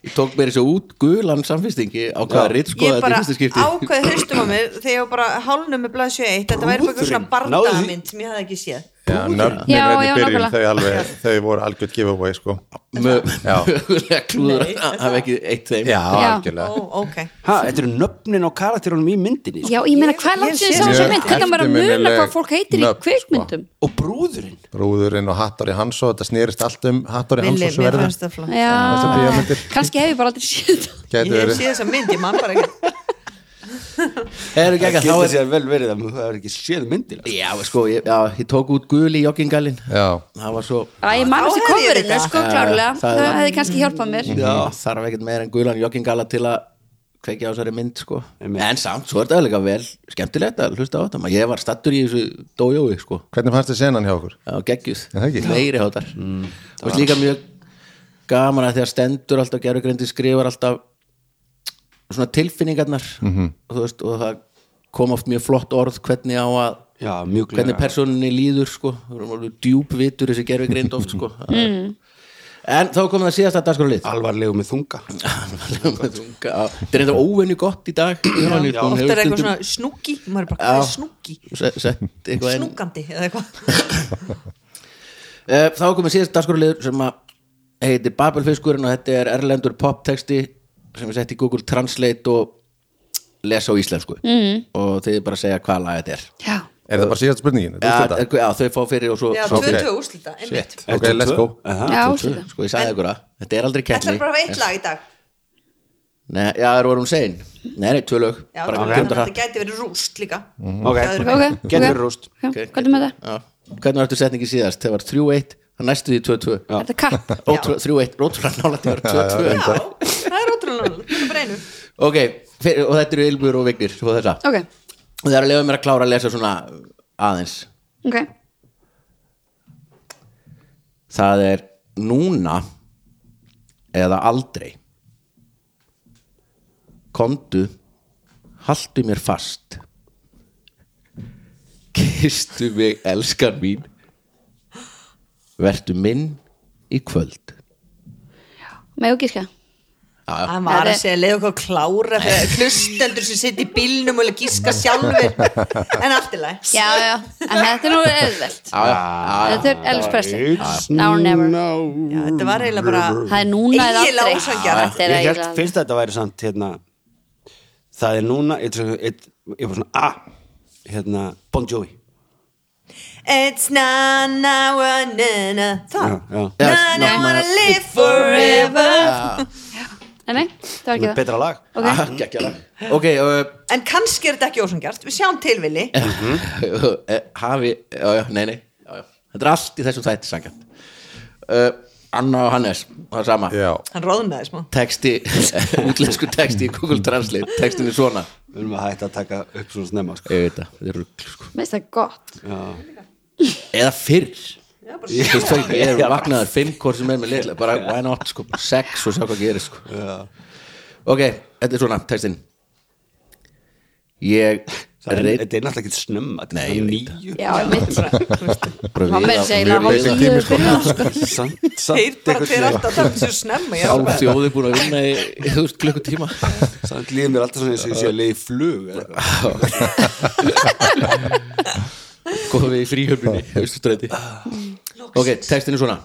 S2: Ég tók mér þessu út gulan samfistingi á hvaða
S5: Já.
S2: ritt
S3: ég
S2: skoða Sko, þetta
S3: bara
S2: í fyrsta skipti
S3: ákveði hlustum á mig þegar ég var bara hálnum með blaðsjö 1 þetta væri bara eitthvað svona
S5: Brúðurinn. Náðu því-
S3: barndamynd sem ég hafði ekki séð
S4: Já, nöfnin
S6: Já,
S4: hérna í
S6: já,
S4: byrjun,
S6: nákvæmlega.
S4: þau alveg, þau voru algjörð giveaway sko Já,
S2: Mögulega klúður að hafa ekki eitt þeim
S4: já,
S6: Já.
S4: algjörlega
S3: ó, ok,
S5: Ha, þetta eru nöfnin á karakterunum í myndinni sko.
S6: Já, ég meina,
S3: Ég-
S6: hvað er langt
S3: ég
S6: sem
S3: sé
S6: sá
S4: mjög
S6: sem mynd? Hvernig maður að muna
S4: eftirminnileg
S6: hvað fólk heitir í
S4: nöfn, sko.
S6: kveikmyndum?
S5: og brúðurinn
S4: Brúðurinn og Hattori Hansó, þetta snýrist allt um Hattori
S3: Billy,
S4: Hansó
S3: mér
S4: sverðin
S3: fannst það flott
S4: Þessar
S6: Já.
S4: bíómyndir.
S6: Kanski hef ég bara aldrei séð þetta.
S4: Gæti
S3: ég hef
S4: verið
S3: séð þessa mynd, ég man bara
S2: (laughs)
S3: ekki
S2: Heru,
S5: Það
S2: gegga, þá
S5: getur
S2: er
S5: sér vel verið að það er ekki séð myndina
S2: Já, sko, ég, já, ég tók út gul í joggingalinn
S4: Já,
S2: Það var svo
S6: Æ, ég man
S3: Þá
S6: eftir
S3: hefði ég
S6: coverinu,
S3: vitað.
S6: sko, klárlega.
S2: það-
S6: Það hefði kannski hjálpað mér.
S2: Já, þarf ekkert meira en gulan joggingala til að kveikja á þessari mynd sko.
S5: Einmitt.
S2: en samt, svo er þetta alveg vel skemmtilegt að hlusta á þetta, maður ég var stattur í þessu dójói, sko,
S4: hvernig fannst þið senan hjá okkur?
S2: á geggjuð
S4: Er það ekki?
S2: meiri hátar, Mm. og líka mjög gaman að því að stendur alltaf gerðugrindi skrifar alltaf svona tilfinningarnar
S4: Mhm.
S2: og, þú veist, og það kom oft mjög flott orð hvernig á að
S5: Já, mjög glæða
S2: hvernig personinni líður sko það er alveg djúpvitur þessi gerðugrind oft
S4: (laughs)
S2: sko mm. en þá kom það síðast að dagskorlið (laughs)
S3: Ah,
S5: Alvarlegu með þunga
S2: þetta er eitthvað óvenju gott í dag
S3: oft er eitthvað svona snúki, maður er bara hvað er snúki
S2: sett eitthvað inn
S3: snúkandi
S2: (laughs)
S3: eða eitthvað
S2: Eh, þá er komið síðast dagskorliður sem að heitir Babelfiskurinn og þetta er erlendur poptexti sem er sett í Google Translate og lesa á íslensku mm.
S3: Mhm.
S2: og þið bara segja hvaða lag þetta er
S6: Já.
S4: Er það bara síðast spurningin?
S2: ja, eh,
S4: Ja,
S2: eitthvað- já, þau fá fyrir og svo,
S3: já,
S2: svo
S3: 2-2 úrslita, einmitt
S2: shit.
S4: ok, let's go
S6: Já, slíka.
S2: sko ég sagði ykkur að þetta er aldrei
S3: ætlar
S2: kenni
S3: bara að hafa eitt lag í dag
S2: Nei, já, það voru hún sein Nei, nei, tvö lög
S3: Já,
S2: Bara Mm.
S3: þannig að
S2: kemdur
S3: þetta
S2: hratt
S3: gæti verið rúst líka
S5: Ok,
S3: Það er-
S6: Ok, ok.
S5: getur verið rúst
S6: Já, Hvað er með það?
S2: Já. Hvernig var þetta setningi síðast? Það var 3-1, það næstu því 2-2
S6: Er þetta kapp?
S2: Ótrú- 3-1, rótrúlega nálægt því að
S4: Já,
S2: vera 2-2
S3: já, það er ótrúlega nálægt, þetta er bara einu.
S2: Ok, fyrir, og þetta eru Ylbjör og Vignir og þessa
S6: Ok,
S2: Og það er að lefa mér að klára að lesa svona aðeins
S6: ok.
S2: Það er núna eða aldrei Komdu Haltu mér fast Kistu mig, elskan mín Vertu minn í kvöld
S6: Má ég gíska?
S3: hann var að
S6: Þetta-
S3: segja leið okkur að klára þegar hlustendur sem sitt í bílnum og gíska sjálfur en allt í læg
S6: já, já, Ah. en þetta er nú auðvelt þetta er Elvis Presley now or never,
S3: þetta var eiginlega bara
S6: það er núna eða
S3: Eiginlega
S6: aldrei
S3: ósanngjarnt.
S6: Þetta
S5: ég
S6: er
S5: held
S6: eiginlega-
S5: fyrst að þetta væri samt hérna, það er núna ég, ég, ég, ég var svona ah, hérna, Bon Jovi
S3: It's na na wa na na
S5: já,
S3: Það
S5: já.
S2: Já,
S3: Na na
S2: ná-
S3: wanna live forever
S6: Nei, nei, það var
S5: Sem er
S6: ekki
S5: betra lag
S6: það okay.
S2: Ah, ok, uh,
S3: En kannski er þetta ekki ósangjart Við sjáum tilvili
S2: Eh, (laughs) hafi, já, já, nei, nei já, já. þetta er allt í þessum þætti sangjant uh, Anna og Hannes það er sama,
S4: Já,
S3: Hann roðnaði smá
S2: texti (laughs) útlensku texti í Google Translate textin er svona,
S5: við erum að hætta að taka upp svona snemma sko.
S2: ég veit það þetta er rugl, sko.
S6: Mér finnst það gott
S2: eða fyrr ég finnst það ekki, ég er vaknaður fimm hvort sem er með litla, bara why not sko, sex og sjá hvað gerir sko. ok, þetta er svona textin ég
S5: það er,
S2: reynd
S5: þetta er náttúrulega ekki snemma þetta
S2: Nei, ég
S5: er
S2: veit
S5: nýju
S6: Já, mitt
S2: bara
S6: Má meira
S2: við
S6: segja
S4: basic
S6: hálftíu
S4: tími,
S6: við
S4: sko.
S6: byrjum sko.
S5: samt,
S3: Þeir
S5: samt,
S3: bara
S5: einhvern
S3: þeir
S5: veginn-
S3: alltaf það þessu snemma ég er
S2: sjálf
S3: alveg-
S2: þjóði búin að vinna í, þú veist, klukkutíma
S5: samt líður mér alltaf svona eins og ég sé að leiði flug eða eitthvað.
S2: komum við í fríhöfninni austurstræti ok, textin er svona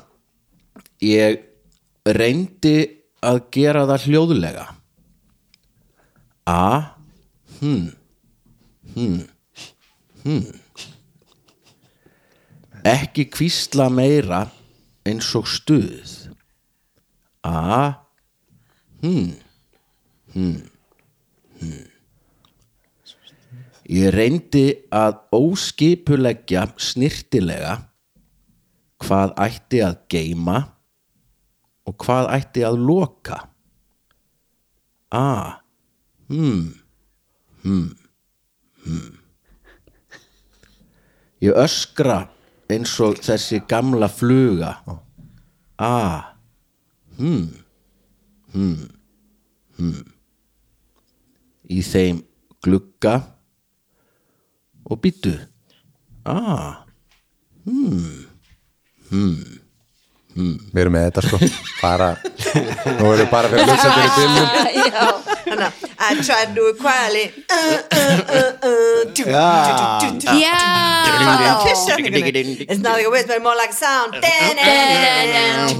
S2: ég reyndi að gera það hljóðlega a hm hm hm hmm. ekki kvísla meira eins og stuð a hm hm Ég reyndi að óskipuleggja snirtilega hvað ætti að geyma og hvað ætti að loka. Ah, hmm, hmm, hmm. Ég öskra eins og þessi gamla fluga. Ah, hmm, hmm, hmm. Í þeim glugga og býttu ah,
S4: við erum með þetta sko bara, Nú erum við bara fyrir hlustendur í bílnum
S3: Þannig að I tried to quietly uh, uh, uh, uh, dú, dú, dú, dú, dú.
S6: Já
S3: Fattar fyrst setningunni. It's not like a whisper, more like a sound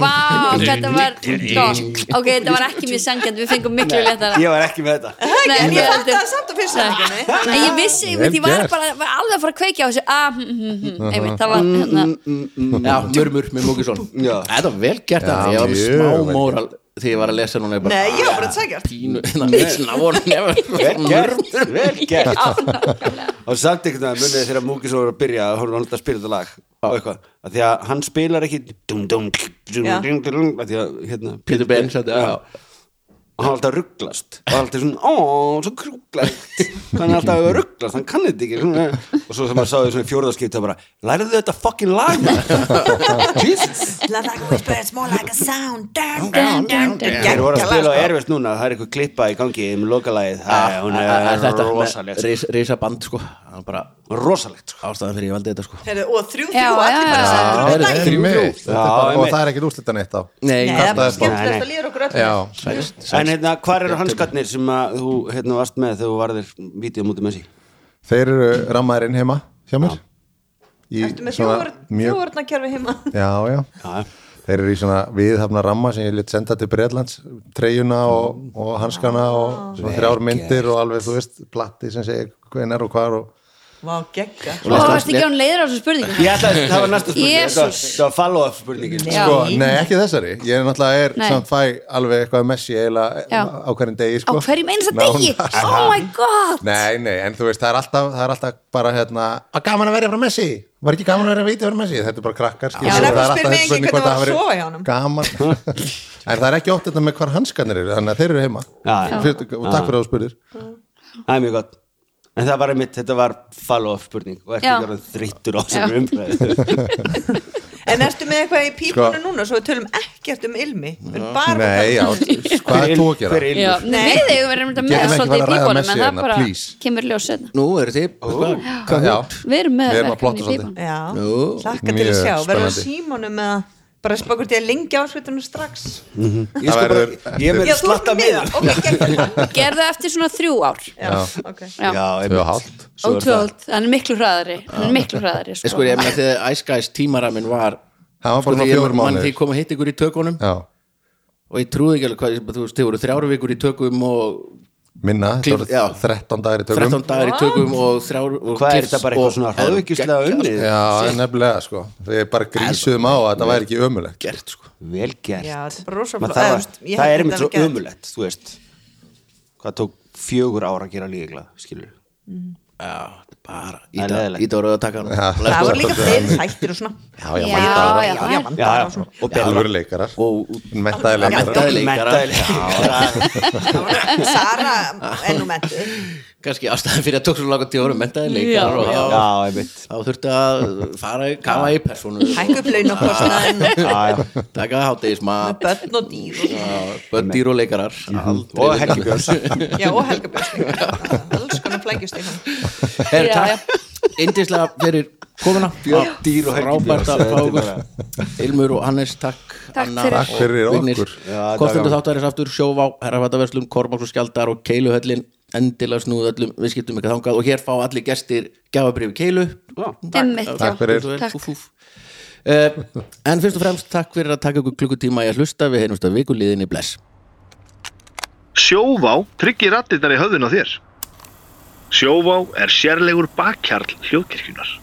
S6: Vá, þetta var gott Ok, þetta var ekki mjög sangjant, við fengum miklu letara
S5: ég var ekki með þetta
S6: Nei,
S3: En ég
S6: þetta-
S3: fatt það samt á fyrst setningunni
S6: Nei, ég vissi, ég,
S4: Vel
S6: ég var
S4: gert.
S6: bara var alveg að fara að kveikja á þessu ah, hm, hm, hm, einmitt, það var hérna
S2: já, mörmur með Mókisson
S5: Já.
S2: þetta var vel gert að það, ég var með
S4: mjög vel
S2: smá
S4: gert.
S2: móral þegar ég var að lesa núna ég bara,
S3: Nei, ég var bara sangjart
S2: pínu (laughs) mörmur
S5: gert, vel gert og samt einhvern veginn munið þegar Múkis var að byrja að hún var alltaf að spila þetta lag og eitthvað, að því að hann spilar ekki dum dum dum
S3: Já.
S5: dum dum að því að hérna
S2: Peter Benz þetta, já.
S5: og hann var alltaf að rugglast og alltaf svona, ó, svo krúglast hann er alltaf að rugglast, hann kann þetta ekki svona. og svo sem hann sáði svona fjórðarskipt það bara, læriðu þetta fucking lag maður?" Jesus
S3: It's not like a whisper, it's more like a sound dun, dun,
S6: dun, dun,
S3: dun,
S6: dun.
S3: dun.
S5: þeir voru að spila á
S3: Geggjað lag, sko.
S5: erfist núna, það er eitthvað klippa í gangi um lokalagið, það er- hún
S2: Að- að- að
S5: er
S2: ah, þetta
S5: rosalegt sko.
S2: með reysa band sko það var bara
S5: rosalegt sko.
S2: ástæðan fyrir ég valdi þetta
S4: E-
S2: sko
S3: Heyrðu, Og þrjú,
S6: Já,
S3: þrjú, allir
S6: já,
S3: bara
S6: já.
S3: saman
S2: Heyrðu,
S4: Þetta er
S2: þrjú,
S4: með,
S2: þrjú.
S4: þetta er
S5: Já,
S4: bara- og
S5: einmitt.
S4: það er ekkert úrslitan eitt á
S2: nei,
S3: Nei, það er bara
S4: Kastaðist bara.
S3: skemmtilegast
S5: Nei,
S3: að
S5: nei.
S3: líra okkur öll
S4: Já,
S2: sæst, sæst.
S5: en hérna, hvar eru hanskarnir sem að þú hérna, varst með þegar þú varðir vídeo mútið með sí
S4: þeir eru rammaðir inn heima hjá mér Í
S3: Ertu með
S4: svona mjög,
S3: þjóðvarnarkerfi heima
S4: já, já Þeir eru í svona viðhafna ramma sem ég lét senda til Breitlands, treyjuna og, og hanskana
S6: Ah.
S4: og svona þrjár myndir og alveg, þú veist, platti sem segir hvenar og hvar og
S3: Vá, gegga
S6: og það varst ekki án leiður á þessu spurningu
S5: ég ætla að það var næsta spurning
S6: Jesus.
S5: þetta var- þetta var follow-up spurningin
S6: Já.
S4: sko, nei, ekki þessari ég er náttúrulega er
S6: Nei.
S4: samt fæ alveg eitthvað messi eiginlega
S6: Já.
S4: á hverjum degi
S6: á
S4: sko.
S6: hverjum einsta degi,
S4: Nánast.
S6: oh my god
S4: nei, nei, en þú veist, það er alltaf, það er alltaf bara hérna, að gaman að vera frá messi var ekki gaman að vera viti frá messi, þetta er bara krakkar skilur,
S3: Já, en af
S4: og það er
S3: hverju
S4: alltaf
S3: spyr mig
S4: þessi
S3: enginn
S4: spurning
S3: hvernig
S4: hvort
S3: var að
S4: það
S3: sofa
S4: hafi
S3: hjá honum?
S4: verið gaman (laughs) en það er ekki ótt þetta með hvar hanskan eru þannig að þeir eru heima
S5: Já, já.
S4: Fyrst, og takk fyrir að þú spyrir
S5: það er mjög gott en það var einmitt, þetta var follow-up spurning og ekki
S6: Já.
S5: verið þrýttur á sem
S3: (laughs)
S5: umræðu
S3: En ertu með eitthvað í pípunum
S4: Sko-
S3: núna svo við tölum ekkert um ilmi Við erum bara að
S4: nei,
S3: tala
S4: já,
S3: um-
S4: hvað er þú
S5: Hver
S4: að gera?
S5: er
S6: Já,
S5: ilmur?
S6: nei, við eigum verið einmitt
S4: Getum
S6: með
S4: ekki
S6: svolítið
S4: farið
S6: í
S4: að ræða
S6: bíbólum en
S4: Messi
S6: það
S4: hérna,
S6: bara
S4: please.
S6: kemur ljós setna
S2: nú eru þið oh.
S4: Já,
S6: við erum með
S4: Við erum að
S6: verkefni
S4: plotta
S6: í
S4: svolítið.
S6: bíbólum
S3: Já,
S2: Nú,
S3: hlakka til að
S4: mjög
S3: sjá Verður
S4: spennandi.
S3: Símonum með bara spakur til að lengja ásveitunum strax
S5: Ég sko bara,
S4: verður-
S5: ég er
S3: Já,
S5: með
S3: þú ert
S5: slatta
S3: með miða,
S5: miðan
S3: ok,
S4: (laughs)
S3: geggjað.
S6: gerðu eftir svona þrjú ár
S3: Já, ok.
S6: já, já.
S4: Tvö og hálft.
S5: svo
S6: og
S5: er það.
S6: tvöld, hann er miklu hraðari hann er miklu hraðari
S2: En
S6: sko.
S2: sko, ég meina þegar Ice Guys tímaramin var
S4: Það var bara svona
S2: ég man-
S4: fjórir
S2: man
S4: mánuðir.
S2: því kom að hitta ykkur í tökunum
S4: Já,
S2: og ég trúði ekki alveg hvað, þú veist, þið voru þrjáru vikur í tökum og
S4: minna,
S2: Klíf-
S4: þetta
S2: já.
S4: voru 13 dagar í tökum
S2: 13 dagar í tökum og þrjáru og sko.
S5: Hvað er
S2: klips
S5: þetta bara eitthvað
S2: og-
S5: svona hraðveikislega unnið?
S4: Já, en nefnilega sko Við bara grísuðum á að þetta væri ekki ömulegt
S2: gert, sko.
S5: Vel gert
S3: Já, þetta er bara rosa
S5: Maður
S3: flott.
S5: þarf
S3: Eða,
S5: að-
S3: þú veist, ég
S5: Það
S3: held
S5: er
S3: þetta
S5: mér svo
S3: hafi gerst.
S5: umulett, þú veist Hvað tók fjögur ára að gera líkla, skilur
S2: Já, þetta er bara
S5: Það er
S2: íta-
S5: leiðilegt.
S2: íta á rauðatakkan
S3: það voru líka fleiri þættir og svona
S4: Já,
S6: já,
S4: já,
S6: já, já,
S3: já,
S5: Já, já,
S3: vandar og svona
S5: og
S4: Það
S5: Bella
S4: voru leikarar
S2: og
S4: Mettaði leikarar
S2: menntaði leikara
S5: Mentaðilega
S3: Sara ennum mentu
S2: kannski ástæðan fyrir að tók svo langa tíu árum menntaði
S6: Já,
S2: leikara og
S5: Já,
S2: þá-
S5: ég veit
S2: þá þurfti að fara í kafa í persónu
S3: hækku
S2: (laughs)
S3: upp laun og kostnaðin
S2: taka hátegismat
S3: börn og dýr og svona.
S2: börn dýr og leikarar aldrei
S5: Mhm. Og
S2: verið-
S5: Helgi Björns
S3: (laughs) já, og Helga Björnsting alls konar flækjust í hann
S2: Herra,
S6: Já, já.
S2: takk Indislega fyrir komuna
S5: Björn Dýr og Helgi Björns,
S2: Frábært að
S5: þetta
S2: fá
S5: er
S2: ykkur
S5: bara-
S2: Ilmur og Hannes, takk
S6: Takk
S2: Anna og
S6: fyrir.
S4: Takk fyrir
S2: Vignir.
S4: okkur.
S5: Já, þetta var
S2: Kostendur
S5: gaman.
S2: þáttarins aftur sjóvá, herrafættaverslum, kormáks og skjaldar og keiluhöllin endilega snúð öllum viðskiptum ekki þangað og hér fá allir gestir gjafabrifi keilu
S6: Einmitt, já.
S4: Takk fyrir.
S6: Takk.
S2: Úf, úf. Eh, En fyrst og fremst takk fyrir að taka ykkur klukkutíma í að hlusta við heyrumst að vikuliðinni bless
S1: Sjóvá tryggir rattirnar í höfðun á þér. Sjóvá er sérlegur bakkjarl hljóðkirkjunar.